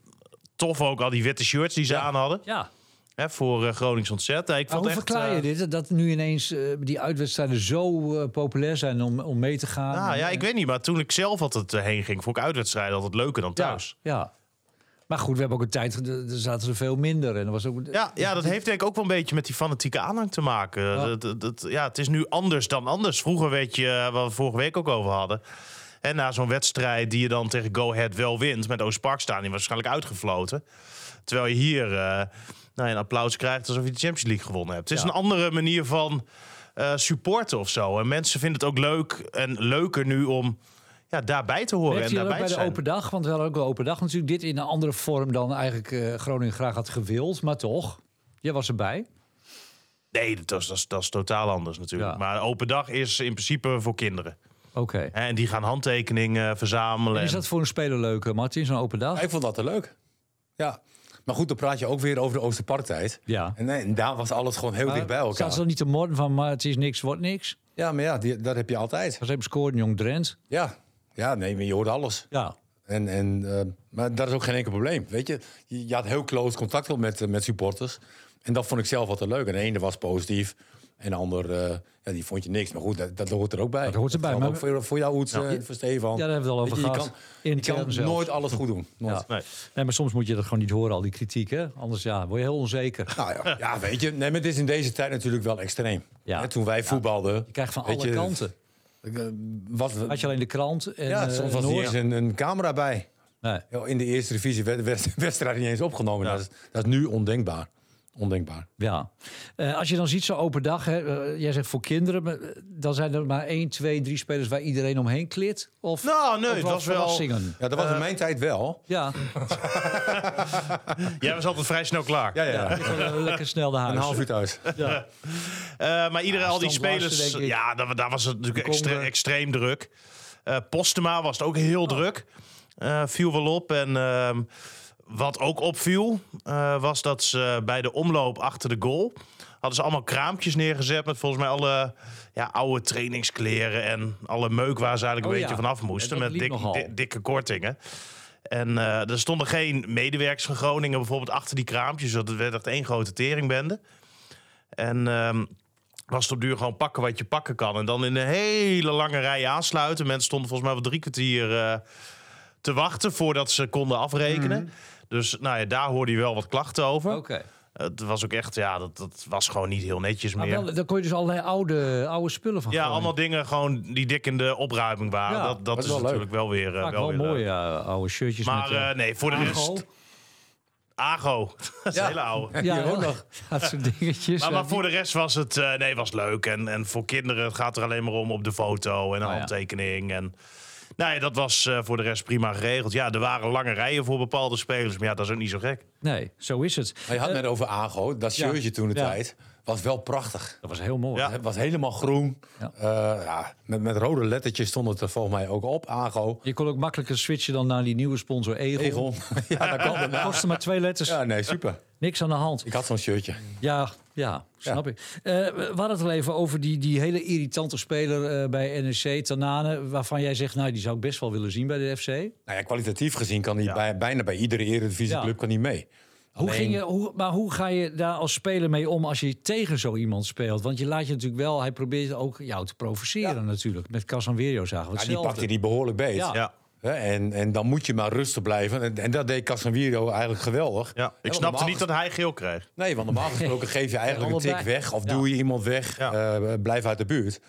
tof ook al die witte shirts die ze aan hadden. ja. Hè, voor eh Gronings Ontzet. Ja, ik Maar vond hoe echt, verklaar je eh, dit? Dat nu ineens eh, die uitwedstrijden zo eh, populair zijn om, om mee te gaan? Nou ja, ik weet niet. Maar toen ik zelf altijd eh, heen ging, vond ik uitwedstrijden altijd leuker dan Ja, thuis. Ja. Maar goed, we hebben ook een tijd, ged- er zaten er veel minder. En er was ook, Ja, ja, dat heeft denk ik ook wel een beetje met die fanatieke aanhang te maken. Dat, dat- dat- ja, het is nu anders dan anders. Vroeger weet je, eh, wat we vorige week ook over hadden. En na zo'n wedstrijd die je dan tegen Go Ahead wel wint... met Oostpark staan die waarschijnlijk uitgefloten. Terwijl je hier eh, nou, ja, een applaus krijgt alsof je de Champions League gewonnen hebt. Het is Ja. een andere manier van eh, supporten of zo. En mensen vinden het ook leuk en leuker nu om ja, daarbij te horen Merkte en je dat ook daarbij bij te de zijn. open dag, want we hadden ook de open dag natuurlijk. Dit in een andere vorm dan eigenlijk eh, Groningen graag had gewild, maar toch. Jij was erbij. Nee, dat is, dat, is, dat is totaal anders natuurlijk. Ja. Maar open dag is in principe voor kinderen. Oké. Hè, En die gaan handtekeningen verzamelen. En is en- dat voor een speler leuk, eh, Martin, zo'n open dag? Ja, ik vond dat te leuk. Ja. Maar goed, dan praat je ook weer over de Oosterparktijd. Ja. En, nee, en daar was alles gewoon heel dicht bij elkaar. Zaten ze dan niet te moorden van, maar het is niks, wordt niks. Ja, maar ja, die, dat heb je altijd. Als ze hebben scoren, jong Drent. Ja, ja nee, maar je hoort alles. Ja. En, en, eh, maar dat is ook geen enkel probleem. Weet je, je, je had heel close contact wel met, eh, met supporters. En dat vond ik zelf altijd leuk. En de ene was positief. En de ander, eh, ja, die vond je niks. Maar goed, dat, dat hoort er ook bij. Dat hoort erbij, geldt maar- ook voor, voor jou, Oets, eh, voor Stefan. Ja, daar hebben we het al over Weet je, je gehad. kan- Je kan, Intern zelfs. nooit alles goed doen. Nooit. Ja. Nee. Nee, maar soms moet je dat gewoon niet horen, al die kritiek. Hè? Anders ja, word je heel onzeker. Nou ja, ja, weet je. Nee, maar het is in deze tijd natuurlijk wel extreem. Ja. Hè, toen wij voetbalden. Je krijgt van weet alle je, kanten. eh, Wat, Had je alleen de krant en ja, eh, soms was er niet Noord. eens een, een camera bij. Nee. Ja, In de eerste divisie werd werd de wedstrijd niet eens opgenomen. Dat, is, dat is nu ondenkbaar. Ondenkbaar. Ja. Eh, als je dan ziet zo'n open dag, hè, eh, jij zegt voor kinderen, maar, eh, dan zijn er maar één, twee, drie spelers waar iedereen omheen klit. Of, Nou, nee, of het wat was wel- verrassingen? Ja, dat was in mijn tijd wel. Ja, Jij was altijd vrij snel klaar. Ja, ja. ja. ik wil, eh, lekker snel naar huis. Een half uur thuis. Eh, maar iedereen, al die standblazen, spelers. denk ik. Ja, daar, daar was het natuurlijk Conde. extre- extreem druk. Eh, Postema was het ook heel druk. Eh, viel wel op. En ehm, wat ook opviel, eh, was dat ze bij de omloop achter de goal. hadden ze allemaal kraampjes neergezet. met volgens mij alle ja, oude trainingskleren. en alle meuk waar ze eigenlijk Oh een ja. beetje vanaf En moesten. dat met liep dik- nogal. di- dikke kortingen. En eh, er stonden geen medewerkers van Groningen bijvoorbeeld achter die kraampjes. Dat werd echt één grote teringbende. En ehm, was het op duur gewoon pakken wat je pakken kan. En dan in een hele lange rij aansluiten. Mensen stonden volgens mij wel drie kwartier eh, te wachten voordat ze konden afrekenen. Mhm. Dus nou ja, daar hoorde je wel wat klachten over. Oké. Het was ook echt, ja, dat, dat was gewoon niet heel netjes Maar meer. wel, dan kon je dus allerlei oude, oude spullen van ja, gooien. allemaal dingen gewoon die dik in de opruiming waren. Ja, dat dat dat is is wel leuk. natuurlijk wel weer, eh, Vaak wel wel weer leuk. mooie eh, oude shirtjes Maar met eh, eh, nee, voor de Ago. [LAUGHS] rest... Ago. [LAUGHS] dat is een hele oude. En hier ook nog. [LAUGHS] Dat soort dingetjes. Maar, eh, maar die- voor de rest was het, eh, nee, was leuk. En, en voor kinderen het gaat er alleen maar om op de foto en een ja. handtekening. En, nou ja, dat was eh, voor de rest prima geregeld. Ja, er waren lange rijen voor bepaalde spelers. Maar ja, dat is ook niet zo gek. Nee, zo is het. Maar je had net over Ago. Dat ja. shirtje toen de Ja. tijd was wel prachtig. Dat was heel mooi. Ja. Het was helemaal groen. Ja. Eh, ja, met, met rode lettertjes stond het er volgens mij ook op. Ago. Je kon ook makkelijker switchen dan naar die nieuwe sponsor Egel. Egel. [LAUGHS] ja, dat kan Het daarna. kostte maar twee letters. Ja, nee, super. Niks aan de hand. Ik had zo'n shirtje. Ja, ja, snap ik. Eh, we hadden het al even over die, die hele irritante speler eh, bij NEC, Tanane. Waarvan jij zegt, nou, die zou ik best wel willen zien bij de FC. Nou ja, kwalitatief gezien kan hij bij, bijna bij iedere eredivisieclub Ja. kan hij mee. Hoe Alleen- ging je, hoe, maar hoe ga je daar als speler mee om als je tegen zo iemand speelt? Want je laat je natuurlijk wel, hij probeert ook jou te provoceren natuurlijk. Met Casanverio zagen we Ja, die hetzelfde. pakte die behoorlijk beet. Ja. Ja. Hè, En, en dan moet je maar rustig blijven. En, en dat deed Casemiro eigenlijk geweldig. Ja, ik Hè, want snapte normaal niet dat hij geel kreeg. Nee, want normaal [LAUGHS] gesproken geef je eigenlijk een tik allebei. weg. Of Ja. doe je iemand weg. Ja. eh, blijf uit de buurt.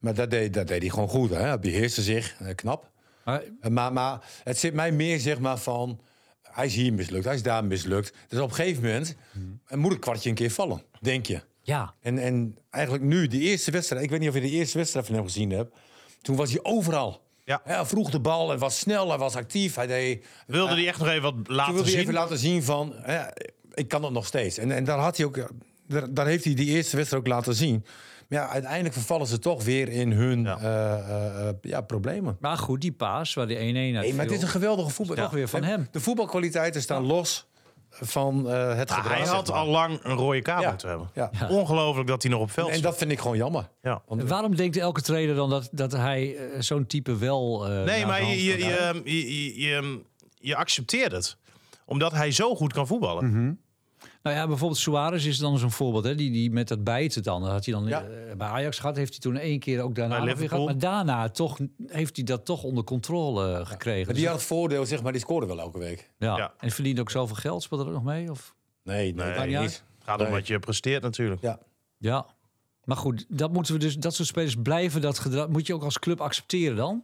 Maar dat deed, dat deed hij gewoon goed. Hè? Hij beheerste zich. eh, knap. Maar Eh, Maar, maar het zit mij meer zeg maar van... Hij is hier mislukt, hij is daar mislukt. Dus op een gegeven moment Mhm. eh, moet het kwartje een keer vallen, denk je. ja, En, en eigenlijk nu, de eerste wedstrijd... Ik weet niet of je de eerste wedstrijd van hem gezien hebt. Toen was hij overal. Ja. Hij vroeg de bal, hij was snel, hij was actief. Hij deed, Wilde hij echt nog even wat toen laten wilde hij zien? even laten zien van, hè, ik kan het nog steeds. En, en daar, had hij ook, eh, daar, daar heeft hij die eerste wedstrijd ook laten zien. Maar ja, uiteindelijk vervallen ze toch weer in hun Ja. eh, eh, eh, ja, problemen. maar goed, die paas waar de 1-1 uit Hey, maar het viel. is een geweldige voetbal. Toch weer van hem. De voetbalkwaliteiten staan los van eh, het Ah, gedrag. hij zeg had maar. al lang een rode kaart Ja. moeten hebben. Dus Ja. Ongelooflijk dat hij nog op veld En zat. dat vind ik gewoon jammer. ja. En Waarom denkt elke trainer dan dat, dat hij eh, zo'n type wel... eh, naar Nee, de maar hand je, je, kan houden? je, je, je- je accepteert het. Omdat hij zo goed kan voetballen. Mhm. Nou ja, bijvoorbeeld Suarez is dan zo'n voorbeeld. Hè? Die, die met dat bijten dan. Dat had hij dan Ja. eh, bij Ajax gehad. Heeft hij toen één keer ook daarna Bij nog weer gehad. Maar Liverpool. daarna toch, heeft hij dat toch onder controle eh, gekregen. Maar die had het voordeel, zeg maar, die scoorde wel elke week. ja. Ja. En verdient ook zoveel geld. Speelt er ook nog mee? Of? Nee, nee, Nee. nee, Ja. niet. Gaat om Nee. wat je presteert natuurlijk. Ja. Ja. Maar goed, dat moeten we dus. Dat soort spelers blijven dat gedrag. Moet je ook als club accepteren dan?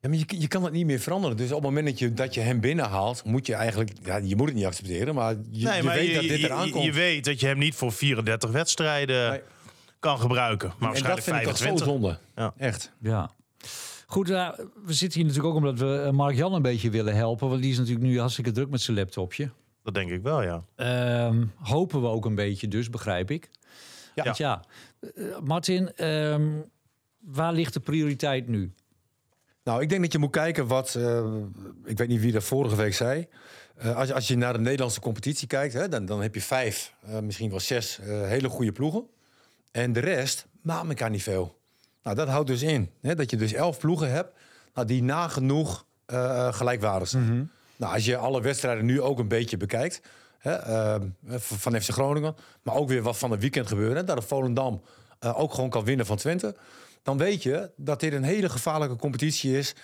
Ja, maar je, je kan het niet meer veranderen. Dus op het moment dat je, dat je hem binnenhaalt, moet je eigenlijk... Ja, je moet het niet accepteren, maar je, Nee, je maar weet dat dit eraan je- komt. Je weet dat je hem niet voor 34 wedstrijden Nee. kan gebruiken. Maar en dat waarschijnlijk vind ik toch zo 25. zonde. Ja. Echt. Ja. Goed, nou, we zitten hier natuurlijk ook omdat we eh, Mark Jan een beetje willen helpen. Want die is natuurlijk nu hartstikke druk met zijn laptopje. Dat denk ik wel, ja. Ehm, hopen we ook een beetje, dus begrijp ik. Ja. Want ja, eh, Martin, ehm, waar ligt de prioriteit nu? Nou, ik denk dat je moet kijken wat. eh, ik weet niet wie dat vorige week zei. Eh, als, je, als je naar de Nederlandse competitie kijkt, hè, dan, dan heb je vijf, eh, misschien wel zes eh, hele goede ploegen. En de rest maakt elkaar niet veel. Nou, dat houdt dus in hè, dat je dus elf ploegen hebt nou, die nagenoeg eh, gelijkwaardig zijn. Nou, als je alle wedstrijden nu ook een beetje bekijkt. Hè, eh, v- van FC Groningen, maar ook weer wat van het weekend gebeurde. hè, Dat Volendam eh, ook gewoon kan winnen van Twente. Dan weet je dat dit een hele gevaarlijke competitie is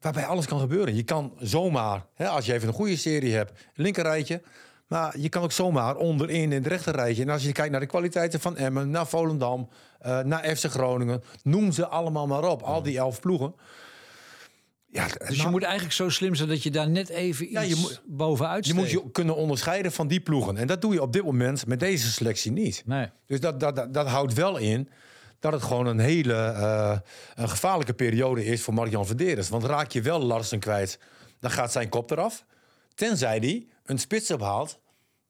waarbij alles kan gebeuren. Je kan zomaar, hè, als je even een goede serie hebt, linker rijtje. Maar je kan ook zomaar onderin in het rechter rijtje. En als je kijkt naar de kwaliteiten van Emmen, naar Volendam, eh, naar FC Groningen. Noem ze allemaal maar op, al die elf ploegen. Ja, Dus nou, je moet eigenlijk zo slim zijn dat je daar net even iets Ja, je moet- bovenuit je steekt. moet je kunnen onderscheiden van die ploegen. En dat doe je op dit moment met deze selectie niet. Nee. Dus dat, dat, dat, dat houdt wel in dat het gewoon een hele eh, een gevaarlijke periode is voor Marjan Verderes. Want raak je wel Larsen kwijt, dan gaat zijn kop eraf. Tenzij die een spits ophaalt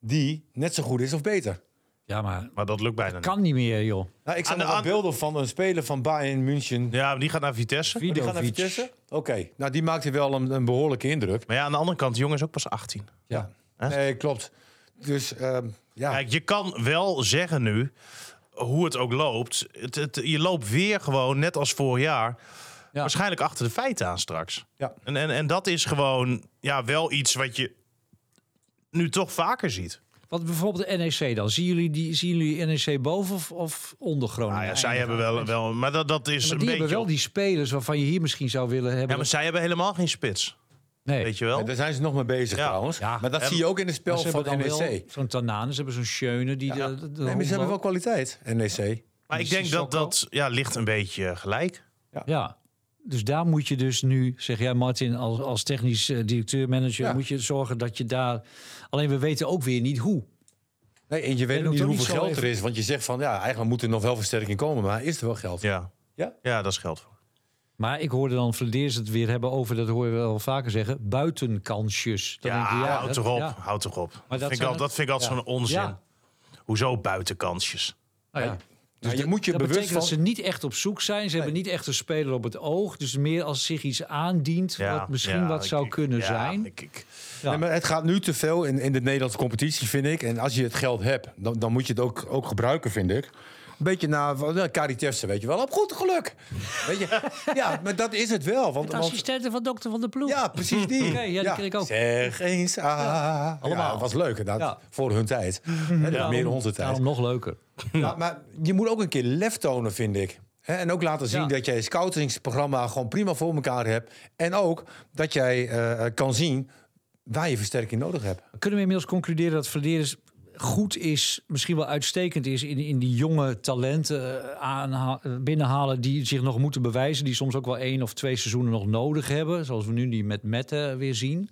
die net zo goed is of beter. Ja, maar Maar dat lukt bijna niet. kan niet meer, joh. Nou, ik zag Aan de nog wat aan- beelden van een speler van Bayern München. Ja, maar die gaat naar Vitesse. Die gaan even Vidovic. tussen. Oké, nou die maakte wel een, een behoorlijke indruk. Maar ja, aan de andere kant, de jongen is ook pas 18. Ja. Nee, klopt. Dus ehm, ja. Kijk, je kan wel zeggen nu, hoe het ook loopt. Het, het- je loopt weer gewoon, net als vorig jaar, Ja. waarschijnlijk achter de feiten aan straks. Ja. En, en, en dat is gewoon ja, wel iets wat je nu toch vaker ziet. Wat bijvoorbeeld de NEC dan? Zien jullie, die, zien jullie NEC boven of, of onder Groningen? Nou ja, zij eindigen? hebben wel, wel maar dat, dat is Maar die een beetje... hebben wel die spelers waarvan je hier misschien zou willen hebben. Ja, maar zij hebben helemaal geen spits, nee. weet je wel. En daar zijn ze nog mee bezig Ja. trouwens. Ja. Maar dat En- zie je ook in het spel Maar ze van hebben dan wel NEC. zo'n Tanane, ze hebben zo'n Schöne. Die de, de, de Nee, maar ze hebben wel rondloopt. kwaliteit, E NEC. Maar ik denk dat Sissoko. dat ja, ligt een beetje gelijk. Ja. Dus daar moet je dus nu, zeg jij Martin, als, als technisch eh, directeur-manager... Ja. moet je zorgen dat je daar... Alleen we weten ook weer niet hoe. Nee, en je weet doet ook niet ook niet hoeveel zo geld er is. Want je zegt van, ja, eigenlijk moet er nog wel versterking komen. Maar is er wel geld? Ja, Ja? ja dat is geld voor. Maar ik hoorde dan Vladeers het weer hebben over, dat hoor je wel vaker zeggen, buitenkansjes. Dan Ja, denk je, houd dat- toch op, ja. houd toch op. Dat dat vind, ik zijn al, dat vind ik altijd ja. zo'n onzin. Ja. Hoezo buitenkansjes? Nou ja. Dus je moet je dat bewust betekent van... dat ze niet echt op zoek zijn. Ze hebben niet echt een speler op het oog. Dus meer als zich iets aandient, Ja, wat misschien ja, wat ik- zou ik- kunnen ja, zijn. ik- ik, Ja. Nee, maar het gaat nu te veel in, in de Nederlandse competitie, vind ik. En als je het geld hebt, dan, dan moet je het ook, ook gebruiken, vind ik. Een beetje naar nou, Karitefse, weet je wel. Op goed geluk. weet [LAUGHS] je? Ja, maar dat is het wel. Want, De want- assistenten van dokter van der Ploeg. ja, precies die. Oké, ja, die ken ik ook. Zeg eens, ah. Ja, allemaal. was leuk, inderdaad. Ja. Voor hun tijd. Hè, dat is meer onze tijd. Daarom nog leuker. Ja, maar je moet ook een keer lef tonen, vind ik. Hè, en ook laten zien Ja. dat jij je scoutingsprogramma gewoon prima voor elkaar hebt. En ook dat jij eh, kan zien waar je versterking nodig hebt. Kunnen we inmiddels concluderen dat Verderes goed is, misschien wel uitstekend is... in, in die jonge talenten eh, aanha- eh, binnenhalen die zich nog moeten bewijzen... die soms ook wel één of twee seizoenen nog nodig hebben. Zoals we nu die met Mette eh, weer zien.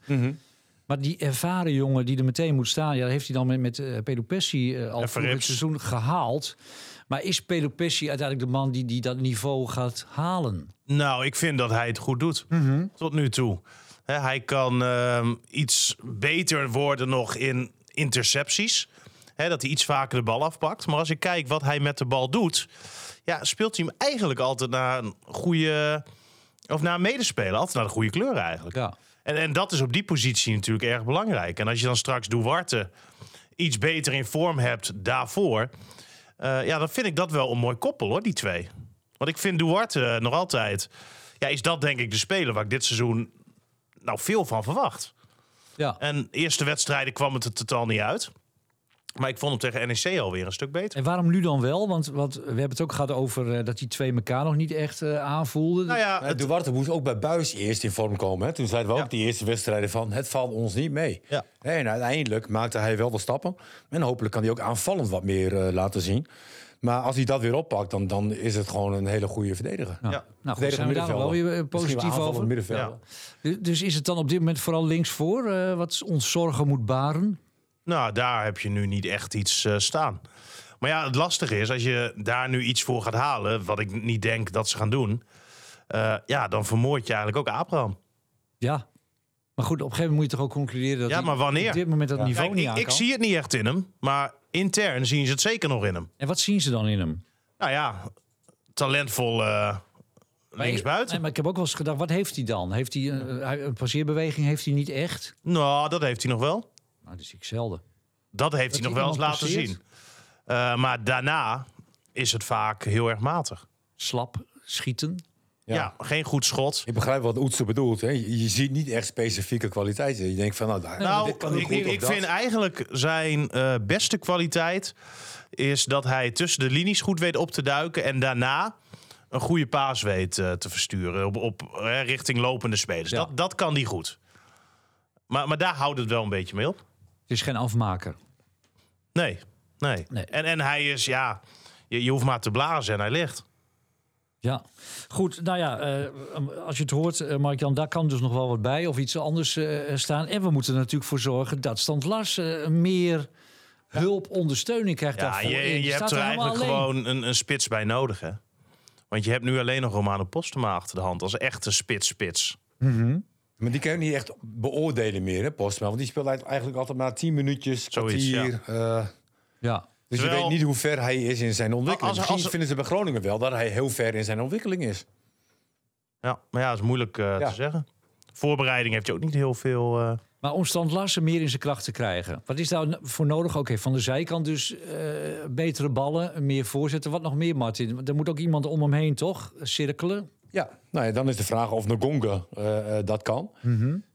Maar die ervaren jongen die er meteen moet staan... Ja, dat heeft hij dan met, met eh, Pedro Pessi eh, al En vroeg het Verrips. seizoen gehaald. Maar is Pedro Pessi uiteindelijk de man die, die dat niveau gaat halen? Nou, ik vind dat hij het goed doet. Tot nu toe. Hè, hij kan ehm, iets beter worden nog in intercepties. Hè, dat hij iets vaker de bal afpakt. Maar als ik kijk wat hij met de bal doet... Ja, speelt hij hem eigenlijk altijd naar een goede... Of naar een medespeler. Altijd naar de goede kleur eigenlijk. Ja. En, en dat is op die positie natuurlijk erg belangrijk. En als je dan straks Duarte iets beter in vorm hebt daarvoor... eh, ja, dan vind ik dat wel een mooi koppel, hoor, die twee. Want ik vind Duarte eh, nog altijd... Ja, is dat denk ik de speler waar ik dit seizoen nou veel van verwacht. Ja. En eerste wedstrijden kwam het er totaal niet uit. Maar ik vond hem tegen NEC alweer een stuk beter. En waarom nu dan wel? Want, want we hebben het ook gehad over eh, dat die twee elkaar nog niet echt eh, aanvoelden. Nou ja, Maar het- Eh, Duarte moest ook bij Buis eerst in vorm komen. Hè? Toen zeiden we ook Ja. die eerste wedstrijden van... het valt ons niet mee. Ja. En uiteindelijk maakte hij wel de stappen. En hopelijk kan hij ook aanvallend wat meer eh, laten zien. Maar als hij dat weer oppakt, dan, dan is het gewoon een hele goede verdediger. Nou, Ja. nou goed, zijn we daar wel weer eh, positief over. Middenvelder. Du- Dus is het dan op dit moment vooral linksvoor eh, wat ons zorgen moet baren? Nou, daar heb je nu niet echt iets eh, staan. Maar ja, het lastige is, als je daar nu iets voor gaat halen, wat ik niet denk dat ze gaan doen, eh, ja, dan vermoord je eigenlijk ook Abraham. Ja. Maar goed, op een gegeven moment moet je toch ook concluderen dat Ja, hij maar wanneer? op dit moment dat niveau Kijk, niet ik, aan ik kan. zie het niet echt in hem, maar intern zien ze het zeker nog in hem. En wat zien ze dan in hem? Nou ja, talentvol eh, Linksbuiten? Nee, maar ik heb ook wel eens gedacht, wat heeft hij dan? Heeft hij eh, hij- een passeerbeweging? Heeft hij niet echt? Nou, dat heeft hij nog wel. Nou, dat zie ik zelden. Dat heeft Dat hij nog hij wel iemand eens laten passeert. zien. Eh, maar daarna is het vaak heel erg matig. Slap, schieten. Ja, Ja. geen goed schot. Ik begrijp wat Oetsen bedoelt. Hè. Je, je ziet niet echt specifieke kwaliteiten. Je denkt van, nou, daar, Nou, dit kan ook ik, goed ik, of ik dat. vind eigenlijk zijn eh, beste kwaliteit is dat hij tussen de linies goed weet op te duiken en daarna een goede paas weet eh, te versturen op, op eh, richting lopende spelers. Ja. Dat, dat kan die goed. Maar, maar daar houdt het wel een beetje mee op. Het is geen afmaker. Nee, nee. Nee. En, en hij is, ja, je, je hoeft maar te blazen en hij ligt. Ja, goed. Nou ja, eh, als je het hoort, eh, Mark-Jan, daar kan dus nog wel wat bij of iets anders eh, staan. En we moeten er natuurlijk voor zorgen dat Stand Lars eh, meer hulp, ondersteuning krijgt. Ja, daarvoor. En je, je hebt staat er helemaal eigenlijk alleen. gewoon een, een spits bij nodig, hè? Want je hebt nu alleen nog Romano Postema achter de hand als echte spits-spits. Maar die kan je ook niet echt beoordelen meer, hè, Postma. Want die speelt eigenlijk altijd maar tien minuutjes, Zoiets, kwartier. eh, Ja. dus Terwijl- je weet niet hoe ver hij is in zijn ontwikkeling. Als- als- Misschien vinden ze bij Groningen wel dat hij heel ver in zijn ontwikkeling is. Ja, maar ja, dat is moeilijk eh, Ja. te zeggen. Voorbereiding heb je ook niet heel veel. eh, Maar om Stant Larsen meer in zijn kracht te krijgen, wat is daar n- voor nodig? Oké, van de zijkant dus eh, betere ballen, meer voorzetten. Wat nog meer, Martin? Want Er moet ook iemand om hem heen, toch? Cirkelen. Ja, nou ja, dan is de vraag of Ngonga eh, eh, dat kan.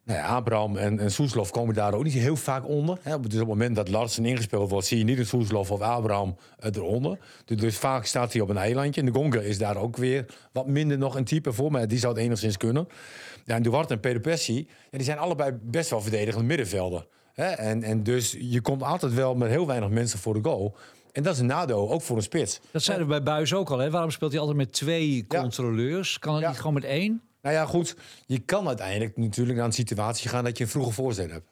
Nou ja, Abraham en, en Soeslof komen daar ook niet heel vaak onder. Hè. Dus op het moment dat Larsen ingespeeld wordt, zie je niet een Soeslof of Abraham eh, eronder. Dus, dus vaak staat hij op een eilandje. Ngonga is daar ook weer wat minder nog een type voor, maar die zou het enigszins kunnen. Ja, en Duarte en Peter Persie, ja, die zijn allebei best wel verdedigende middenvelden. Hè. En, en dus je komt altijd wel met heel weinig mensen voor de goal. En dat is een nadeel, ook voor een spits. Dat zeiden we bij Buis ook al. Hè? Waarom speelt hij altijd met twee Ja. controleurs? Kan het Ja. niet gewoon met één? Nou ja, goed. Je kan uiteindelijk natuurlijk naar een situatie gaan dat je een vroege voorzet hebt.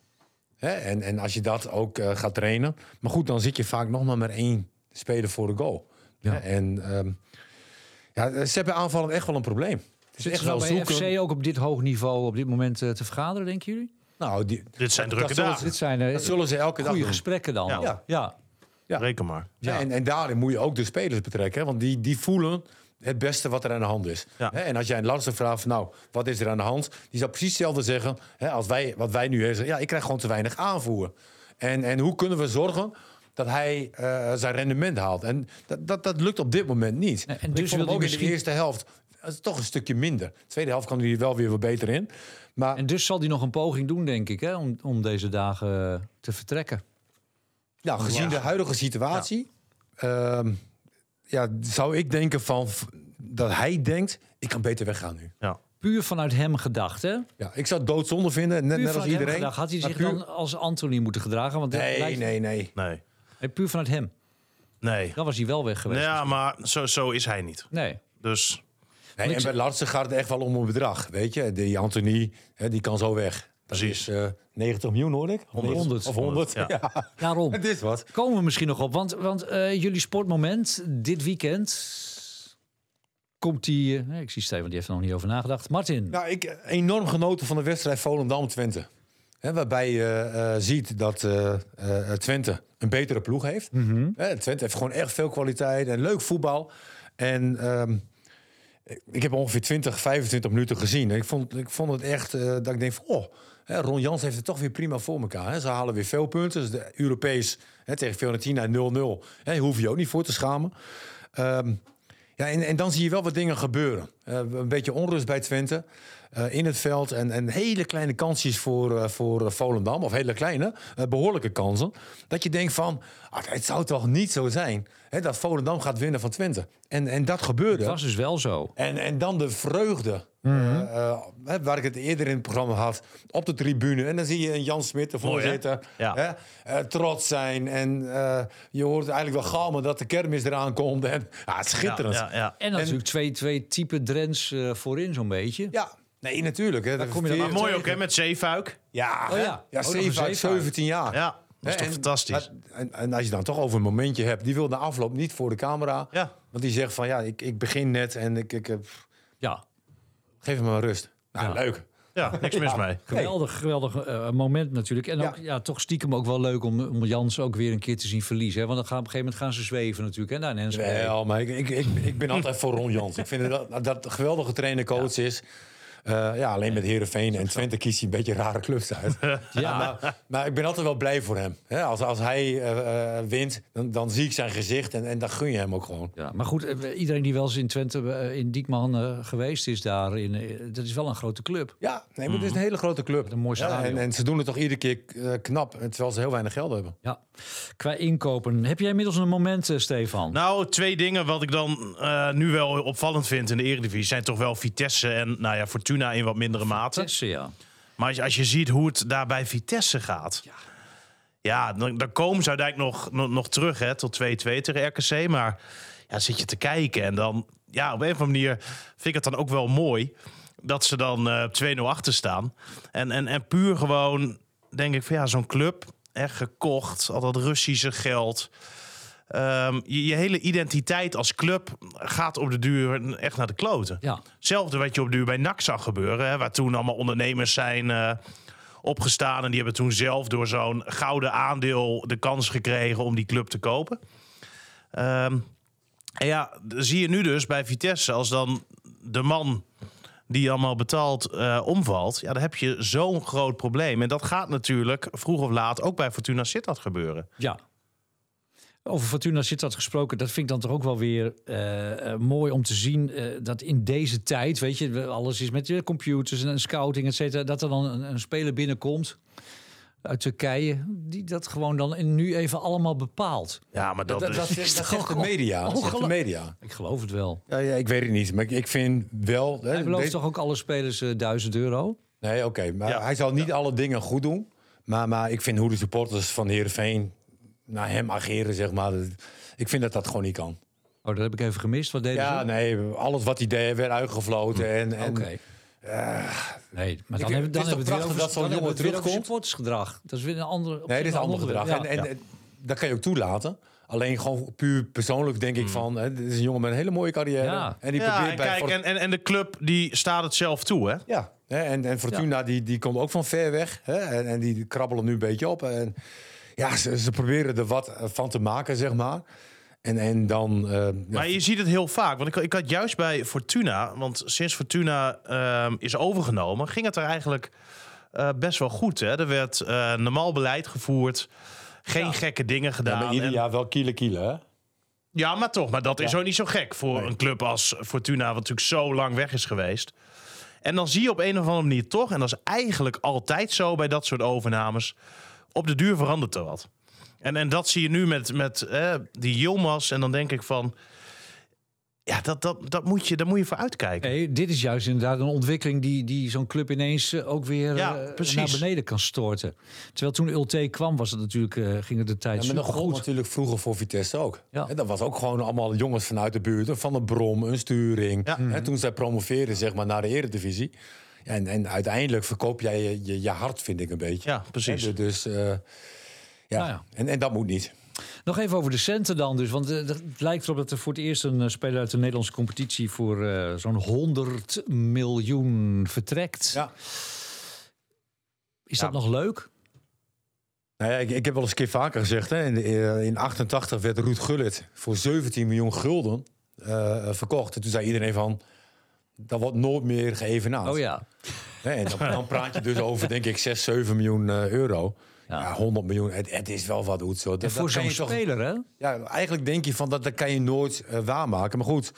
Hè? En, en als je dat ook eh, gaat trainen. Maar goed, dan zit je vaak nog maar met één speler voor de goal. Ja. Hè? En ehm, ja, ze hebben aanvallen echt wel een probleem. Het is Zitten echt ze nou wel bij zoeken. FC ook op dit hoog niveau op dit moment eh, te vergaderen, denken jullie? Nou, die, Dus- dit zijn dat drukke zullen dagen. Dit zijn eh, dat zullen ze elke dag goede doen. gesprekken dan. Ja. al. Ja. ja. ja. Reken maar. Ja. En, en daarin moet je ook de spelers betrekken. hè, Want die, die voelen het beste wat er aan de hand is. Ja. Hè, en als jij een Larsen vraagt, van, nou, wat is er aan de hand? Die zou precies hetzelfde zeggen hè, als wij, wat wij nu zeggen. Ja, ik krijg gewoon te weinig aanvoer. En, en hoe kunnen we zorgen dat hij eh, zijn rendement haalt? En dat, dat, dat lukt op dit moment niet. En- en En, dus dus wil ik vond hem hij ook in misschien- de eerste helft eh, toch een stukje minder. tweede helft kwam hij er wel weer wat beter in. Maar En dus zal hij nog een poging doen, denk ik, hè, om, om deze dagen eh, te vertrekken. Ja, Nou, gezien Ja. de huidige situatie, ja. ja, zou ik denken van v- dat hij denkt: ik kan beter weggaan nu. Ja. Puur vanuit hem gedacht, hè? Ja, ik zou het doodzonde vinden, net, Puur net vanuit als hem iedereen. gedacht. Had hij maar zich puur- dan als Anthony moeten gedragen? Want dat Nee, lijkt- nee, nee. Nee. nee, Puur vanuit hem. Nee. Dan was hij wel weg geweest. Ja, maar zo, zo is hij niet. Nee. Dus nee en bij Larsen gaat het echt wel om een bedrag. Weet je, die Anthony, hè, die kan zo weg. Dat Precies. is eh, 90 miljoen, hoor ik. 100. Of 100. Ja. [LAUGHS] Ja. Daarom. Het is wat. Komen we misschien nog op. Want, want eh, jullie sportmoment dit weekend komt die... eh, ik zie Steven, die heeft er nog niet over nagedacht. Martin. Nou, ik eh, enorm genoten van de wedstrijd Volendam-Twente. Hè, waarbij je eh, ziet dat eh, eh, Twente een betere ploeg heeft. Hè, Twente heeft gewoon echt veel kwaliteit en leuk voetbal. En ehm, ik- ik heb ongeveer 20, 25 minuten gezien. En ik vond, ik vond het echt eh, dat ik denk van... Oh, hè, Ron Jans heeft het toch weer prima voor elkaar. Hè. Ze halen weer veel punten. Dus de Europees hè, tegen Fiorentina 0-0. Hè, hoef je ook niet voor te schamen. Ehm, ja, en, en dan zie je wel wat dingen gebeuren. Eh, een beetje onrust bij Twente eh, in het veld. En, en hele kleine kansjes voor, eh, voor eh, Volendam. Of hele kleine, eh, behoorlijke kansen. Dat je denkt van, ah, het zou toch niet zo zijn hè, dat Volendam gaat winnen van Twente. En, en dat gebeurde. Het was dus wel zo. En, en dan de vreugde, Mhm. eh, eh, hè, waar ik het eerder in het programma had, op de tribune. En dan zie je een Jan Smit, de Mooi, hè? voorzitter, Ja. hè, eh, trots zijn. En eh, je hoort eigenlijk wel galmen dat de kermis eraan komt. En, ah, schitterend. Ja, ja, ja. En natuurlijk twee, twee type Drents eh, voorin zo'n beetje. Ja, nee, natuurlijk. Hè. kom je dan Veer- aan. Mooi ook, hè, met Zeefuik. Ja, Oh hè. ja. ja. Oh, nog een zeven uit zeven. 17 jaar. Ja, dat is Hè, toch en- fantastisch. En, en als je dan toch over een momentje hebt, die wil de afloop niet voor de camera. Ja. Want die zegt van ja, ik, ik begin net en ik, ik eh, Ja. geef hem maar rust. Nou, Ja. leuk. Ja, niks mis mee. Geweldig, geweldig eh, moment natuurlijk. En ook, ja. toch stiekem ook wel leuk om, om Jans ook weer een keer te zien verliezen. Hè? Want dan gaan, op een gegeven moment gaan ze zweven natuurlijk. Hè? Daar in Enschede. Wel, maar ik, ik, ik, ik ben altijd voor Ron Jans. Ik vind dat, dat een geweldige trainer coach is. Eh, ja, alleen met Herenveen en Twente kiest hij een beetje rare clubs [LAUGHS] uit. Ja. maar, maar ik ben altijd wel blij voor hem. Hè, als, als hij eh, eh, wint, dan, dan zie ik zijn gezicht en, en dan gun je hem ook gewoon. Ja, maar goed, eh, iedereen die wel eens in Twente, eh, in Diekman eh, geweest is daar, in, eh, dat is wel een grote club. Ja, nee, maar het is een hele grote club. Een mooi Mhm. Ja, stadion. en, en ze doen het toch iedere keer eh, knap, terwijl ze heel weinig geld hebben. Ja, qua inkopen. Heb jij inmiddels een moment, eh, Stefan? Nou, twee dingen wat ik dan eh, nu wel opvallend vind in de Eredivisie... zijn toch wel Vitesse en nou ja, Fortuna in wat mindere mate. Vitesse, ja. Maar als, als je ziet hoe het daar bij Vitesse gaat... Ja, dan, dan komen ze uiteindelijk nog, nog, nog terug hè, tot 2-2 tegen RKC. Maar ja, zit je te kijken en dan... Ja, op een of andere manier vind ik het dan ook wel mooi... dat ze dan eh, op 2-0 achter staan. En, en, en puur gewoon, denk ik, van ja, zo'n club... echt gekocht, al dat Russische geld... Ehm, je, je hele identiteit als club gaat op de duur echt naar de kloten. Ja. Hetzelfde wat je op de duur bij NAC zag gebeuren. Hè, waar toen allemaal ondernemers zijn eh, opgestaan. En die hebben toen zelf door zo'n gouden aandeel de kans gekregen om die club te kopen. Ehm, en ja, d- zie je nu dus bij Vitesse als dan de man die allemaal betaalt eh, omvalt. Ja, dan heb je zo'n groot probleem. En dat gaat natuurlijk vroeg of laat ook bij Fortuna Sittard gebeuren. ja. Over Fortuna zit dat gesproken. Dat vind ik dan toch ook wel weer eh, eh, mooi om te zien. eh, dat in deze tijd, weet je, we- alles is met eh, computers en scouting, et cetera. Dat er dan een, een speler binnenkomt uit Turkije. Die dat gewoon dan in nu even allemaal bepaalt. Ja, maar dat, Dat, is... dat, dat zegt de toch media. Dat zegt de ongelo- media. Ik geloof het wel. Ja, ja, ik weet het niet, maar ik, ik vind wel... hè, Hij belooft deze- toch ook alle spelers eh, 1000 euro? Nee, oké. maar Ja. hij zal niet alle dingen goed doen. Maar, maar ik vind hoe de supporters van Heerenveen naar hem ageren, zeg maar. dat- Ik vind dat dat gewoon niet kan. Oh, dat heb ik even gemist. Wat deden Ja, ze? nee, alles wat hij deed werd uitgefloten. En, en, Oké. nee, maar dan hebben, ik- het is dan toch hebben we het prachtig dat zo'n jongen terugkomt? supportersgedrag. Dat is weer een ander. op Nee, zich dit is een ander gedrag. Ja. En, en, en dat kan je ook toelaten. Alleen gewoon puur persoonlijk denk ik van... Hè, dit is een jongen met een hele mooie carrière. Mm. Ja. En die Ja, probeert en bij... kijk, Fort- en, en, en de club die staat het zelf toe, hè? Ja, hè, en, en Fortuna die, die komt ook van ver weg. Hè, en, en die krabbelen nu een beetje op. En ja, ze, ze proberen er wat eh, van te maken, zeg maar. En, en dan... eh, ja, Maar je ziet het heel vaak. Want ik, ik had juist bij Fortuna, want sinds Fortuna ehm, is overgenomen, ging het er eigenlijk eh, best wel goed. Hè? Er werd eh, normaal beleid gevoerd, geen gekke dingen ja, gedaan. maar ieder En- jaar wel kielen kielen, hè? ja, maar toch, maar dat is ook niet zo gek voor een club als Fortuna, wat natuurlijk zo lang weg is geweest. En dan zie je op een of andere manier toch, en dat is eigenlijk altijd zo bij dat soort overnames, op de duur verandert er wat. En, en dat zie je nu met, met eh, die Yilmaz. En dan denk ik van, ja, dat, dat, dat moet je, daar moet je voor uitkijken. Nee, dit is juist inderdaad een ontwikkeling die, die zo'n club ineens eh, ook weer Ja, eh, precies. naar beneden kan storten. Terwijl toen Ulte kwam, was het natuurlijk, eh, ging het de tijd Ja, maar super dat gold goed. natuurlijk vroeger voor Vitesse ook. Ja. En dat was ook gewoon allemaal jongens vanuit de buurt. een Van de Brom, een Sturing. Ja. En toen zij promoveerden zeg maar, naar de eredivisie. Ja, En, en uiteindelijk verkoop jij je, je, je hart, vind ik een beetje. Ja, precies. Hè, Dus eh, ja, Nou ja. En, en dat moet niet. Nog even over de centen dan dus. Want eh, het lijkt erop dat er voor het eerst een eh, speler uit de Nederlandse competitie voor eh, zo'n 100 miljoen vertrekt. Ja. Is dat nog leuk? Nou ja, ik, ik heb wel eens een keer vaker gezegd. Hè, in, de- eh, in 88 werd Ruud Gullit voor 17 miljoen gulden eh, verkocht. En toen zei iedereen van... Dat wordt nooit meer geëvenaard. Oh ja. Nee, en dan, dan praat je dus over, denk ik, 6, 7 miljoen eh, euro. Ja. Ja. 100 miljoen, het, het is wel wat hoed. En voor zo'n speler, hè? ja, eigenlijk denk je van dat, dat kan je nooit eh, waarmaken. Maar goed,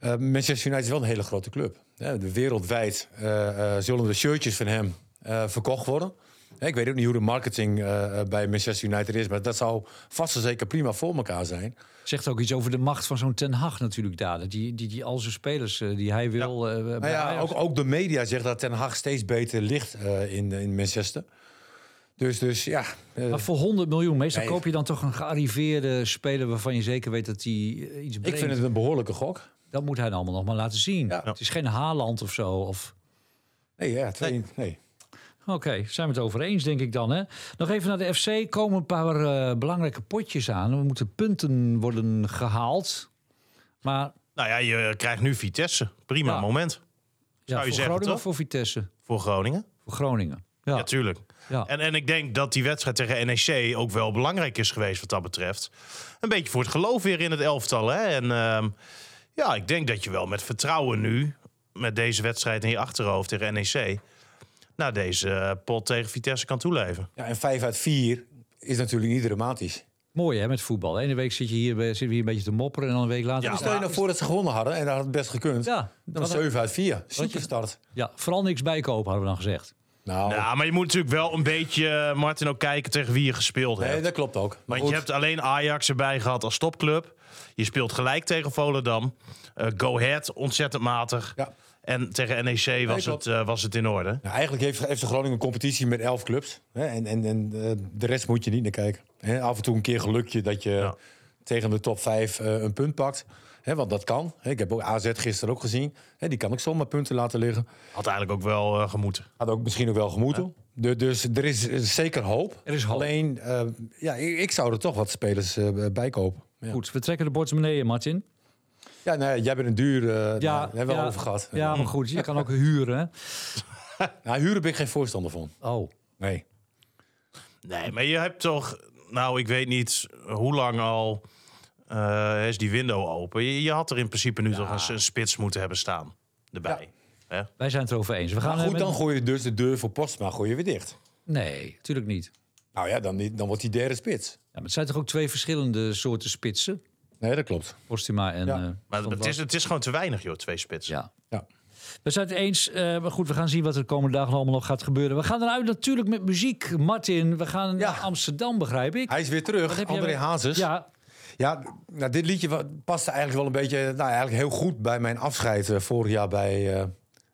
eh, Manchester United is wel een hele grote club. Ja, de wereldwijd eh, eh, zullen de shirtjes van hem eh, verkocht worden. Hè, ik weet ook niet hoe de marketing eh, eh, bij Manchester United is, maar dat zou vast en zeker prima voor elkaar zijn. Zegt ook iets over de macht van zo'n Ten Hag natuurlijk daar. Dat Die, die, die al zijn spelers eh, die hij wil. eh, bij Nou ja, Ajax- ook, ook de media zegt dat Ten Hag steeds beter ligt eh, in, in Manchester. Dus, dus ja. eh, maar voor 100 miljoen, meestal Nee. koop je dan toch een gearriveerde speler waarvan je zeker weet dat hij eh, iets ik brengt. vind het een behoorlijke gok. Dat moet hij dan allemaal nog maar laten zien. Ja. Het is geen Haaland of zo. Of... Nee, ja, twee, nee. Oké, zijn we het over eens, denk ik dan. Hè? Nog even naar de FC. Komen een paar eh, belangrijke potjes aan. Er moeten punten worden gehaald. Maar Nou ja, je krijgt nu Vitesse. Prima Ja. moment. Ja, voor je zeggen, Groningen toch? of voor Vitesse? voor Groningen. Voor Groningen. Ja, Ja, tuurlijk. ja. En, en ik denk dat die wedstrijd tegen NEC ook wel belangrijk is geweest wat dat betreft. Een beetje voor het geloof weer in het elftal. Hè? En ehm, ja, ik denk dat je wel met vertrouwen nu, met deze wedstrijd in je achterhoofd tegen NEC, naar deze eh, pot tegen Vitesse kan toeleven. Ja, en 5 uit 4 is natuurlijk niet dramatisch. Mooi hè, met voetbal. Eén week zit je hier, bij- zitten we hier een beetje te mopperen en dan een week later... Ja, is het- Stel je nou voor dat ze gewonnen hadden en dat had het best gekund. Ja, dan dat- was 7 uit 4. Zieke je- start. ja, vooral niks bijkopen, hadden we dan gezegd. Nou, Ja, maar je moet natuurlijk wel een beetje, eh, Martin, ook kijken tegen wie je gespeeld hebt. nee, dat klopt ook. Maar Want je goed, hebt alleen Ajax erbij gehad als topclub. Je speelt gelijk tegen Volendam. Eh, go Ahead, ontzettend matig. Ja. En tegen NEC was, klopt. het, eh, was het in orde. nou, eigenlijk heeft, heeft de Groningen een competitie met 11 clubs. Hè? En, en, en eh, de rest moet je niet naar kijken. Hè? Af en toe een keer gelukje dat je Ja. tegen de top 5 eh, een punt pakt. Hè? Want dat kan. Hè? Ik heb ook AZ gisteren ook gezien. Hè? Die kan ook zomaar punten laten liggen. Had eigenlijk ook wel eh, gemoeten. Had ook misschien ook wel gemoeten. Du- Dus er is eh, zeker hoop. Er is hoop. Alleen, eh, ja, ik, ik zou er toch wat spelers eh, bij kopen. Ja. Goed, we trekken de portemonnee, Martin. Ja, nou, ja, jij bent een duur. eh nou, daar hebben we al over gehad. Ja, maar goed, dus je kan ook huren. Nou, huren ben ik geen voorstander van. hè? Oh, Nee. Nee, maar je hebt toch... Nou, ik weet niet hoe lang al eh, is die window open. Je, je had er in principe nu toch eens een spits moeten hebben staan. Erbij. Hè? wij zijn het erover eens. We gaan Maar goed, eh, dan gooi je dus de deur voor Postma gooi je weer dicht. Nee, natuurlijk niet. Nou ja, dan, niet- dan wordt die derde spits. Ja, maar het zijn toch ook twee verschillende soorten spitsen? Nee, dat klopt. Postuma en... Ja. eh, Maar Van het is, het is gewoon te weinig, joh, twee spitsen. Ja. Ja. We zijn het eens. eh, maar goed, we gaan zien wat er de komende dagen allemaal nog gaat gebeuren. We gaan eruit natuurlijk met muziek, Martin. We gaan Ja. naar Amsterdam, begrijp ik. Hij is weer terug, heb jij André weer- Hazes. Ja, Ja, nou, dit liedje wa- paste eigenlijk wel een beetje... Nou, eigenlijk heel goed bij mijn afscheid eh, vorig jaar bij, eh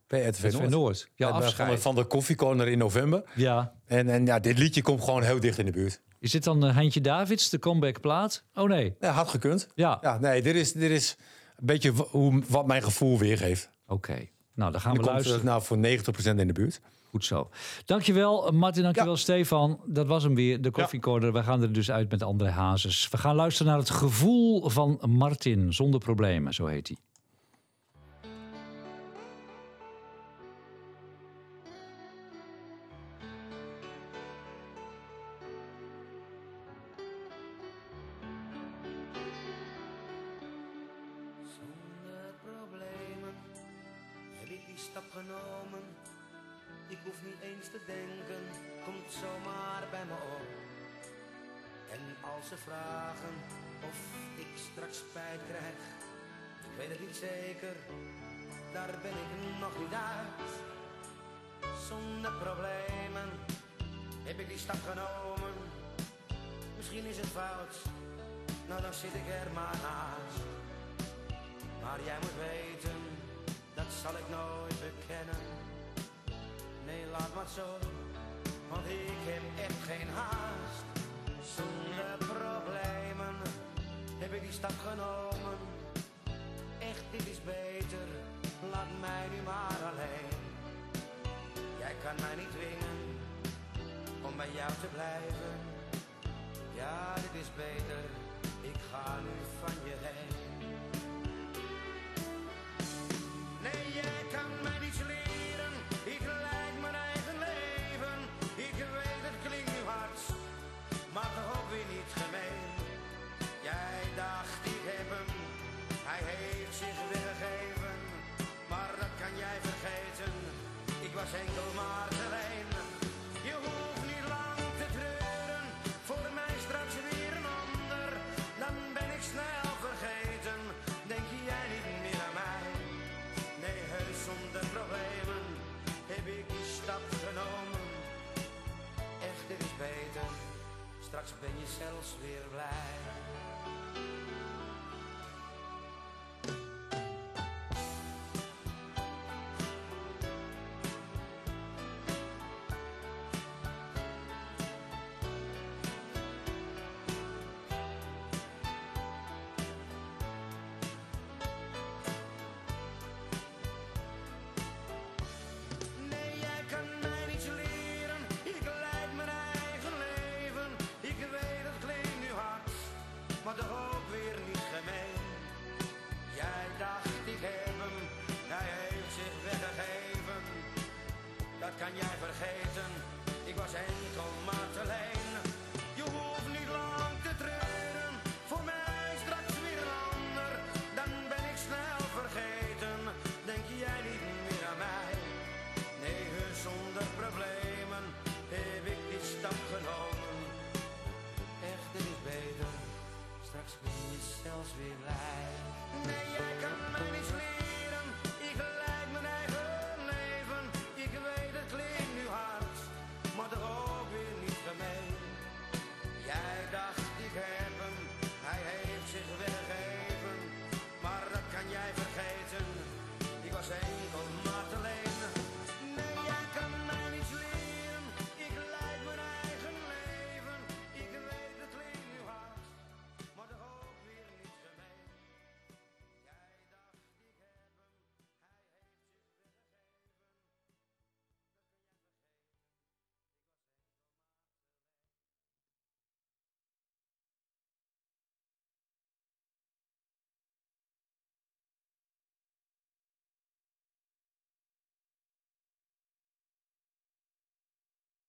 bij RTV Noord. Noord. Noord. Ja, Eh, bij- Van de, afscheid. van de koffiecorner in november. Ja. En, en ja, dit liedje komt gewoon heel dicht in de buurt. Is dit dan eh, Heintje Davids, de comeback plaat? Oh nee. Ja, had gekund. Ja, Ja, nee, dit is, dit is een beetje w- hoe, wat mijn gevoel weergeeft. oké. Nou, dan gaan En we dan komt luisteren. het nou voor 90% in de buurt. Goed zo. Dankjewel eh, Martin, dankjewel Stefan. Dat was hem weer, de Coffee Corner. We gaan er dus uit met André Hazes. We gaan luisteren naar het gevoel van Martin, zonder problemen, zo heet hij. Zonder problemen heb ik die stap genomen. Ik hoef niet eens te denken, komt zomaar bij me op. En als ze vragen of ik straks spijt krijg, ik weet het niet zeker, daar ben ik nog niet uit. Zonder problemen heb ik die stap genomen. Misschien is het fout, nou dan zit ik er maar naast. Maar jij moet weten, dat zal ik nooit bekennen. Nee, laat maar zo, want ik heb echt geen haast. Zonder problemen heb ik die stap genomen. Echt, dit is beter, laat mij nu maar alleen. Jij kan mij niet dwingen om bij jou te blijven. Ja, dit is beter, ik ga nu van je heen. Nee, jij kan mij niets leren. Ik leid mijn eigen leven. Ik weet het klinkt nu hard, maar toch ook weer niet gemeen. Jij dacht ik heb hem, hij heeft zich weggegeven. Maar dat kan jij vergeten, ik was enkel maar alleen. Je hoeft niet lang te treuren, voor mij straks weer een ander. Dan ben ik snel vergeten, denk jij niet meer aan mij. Nee, heus zonder problemen heb ik die stap genomen. Echt, dit is beter, straks ben je zelfs weer blij.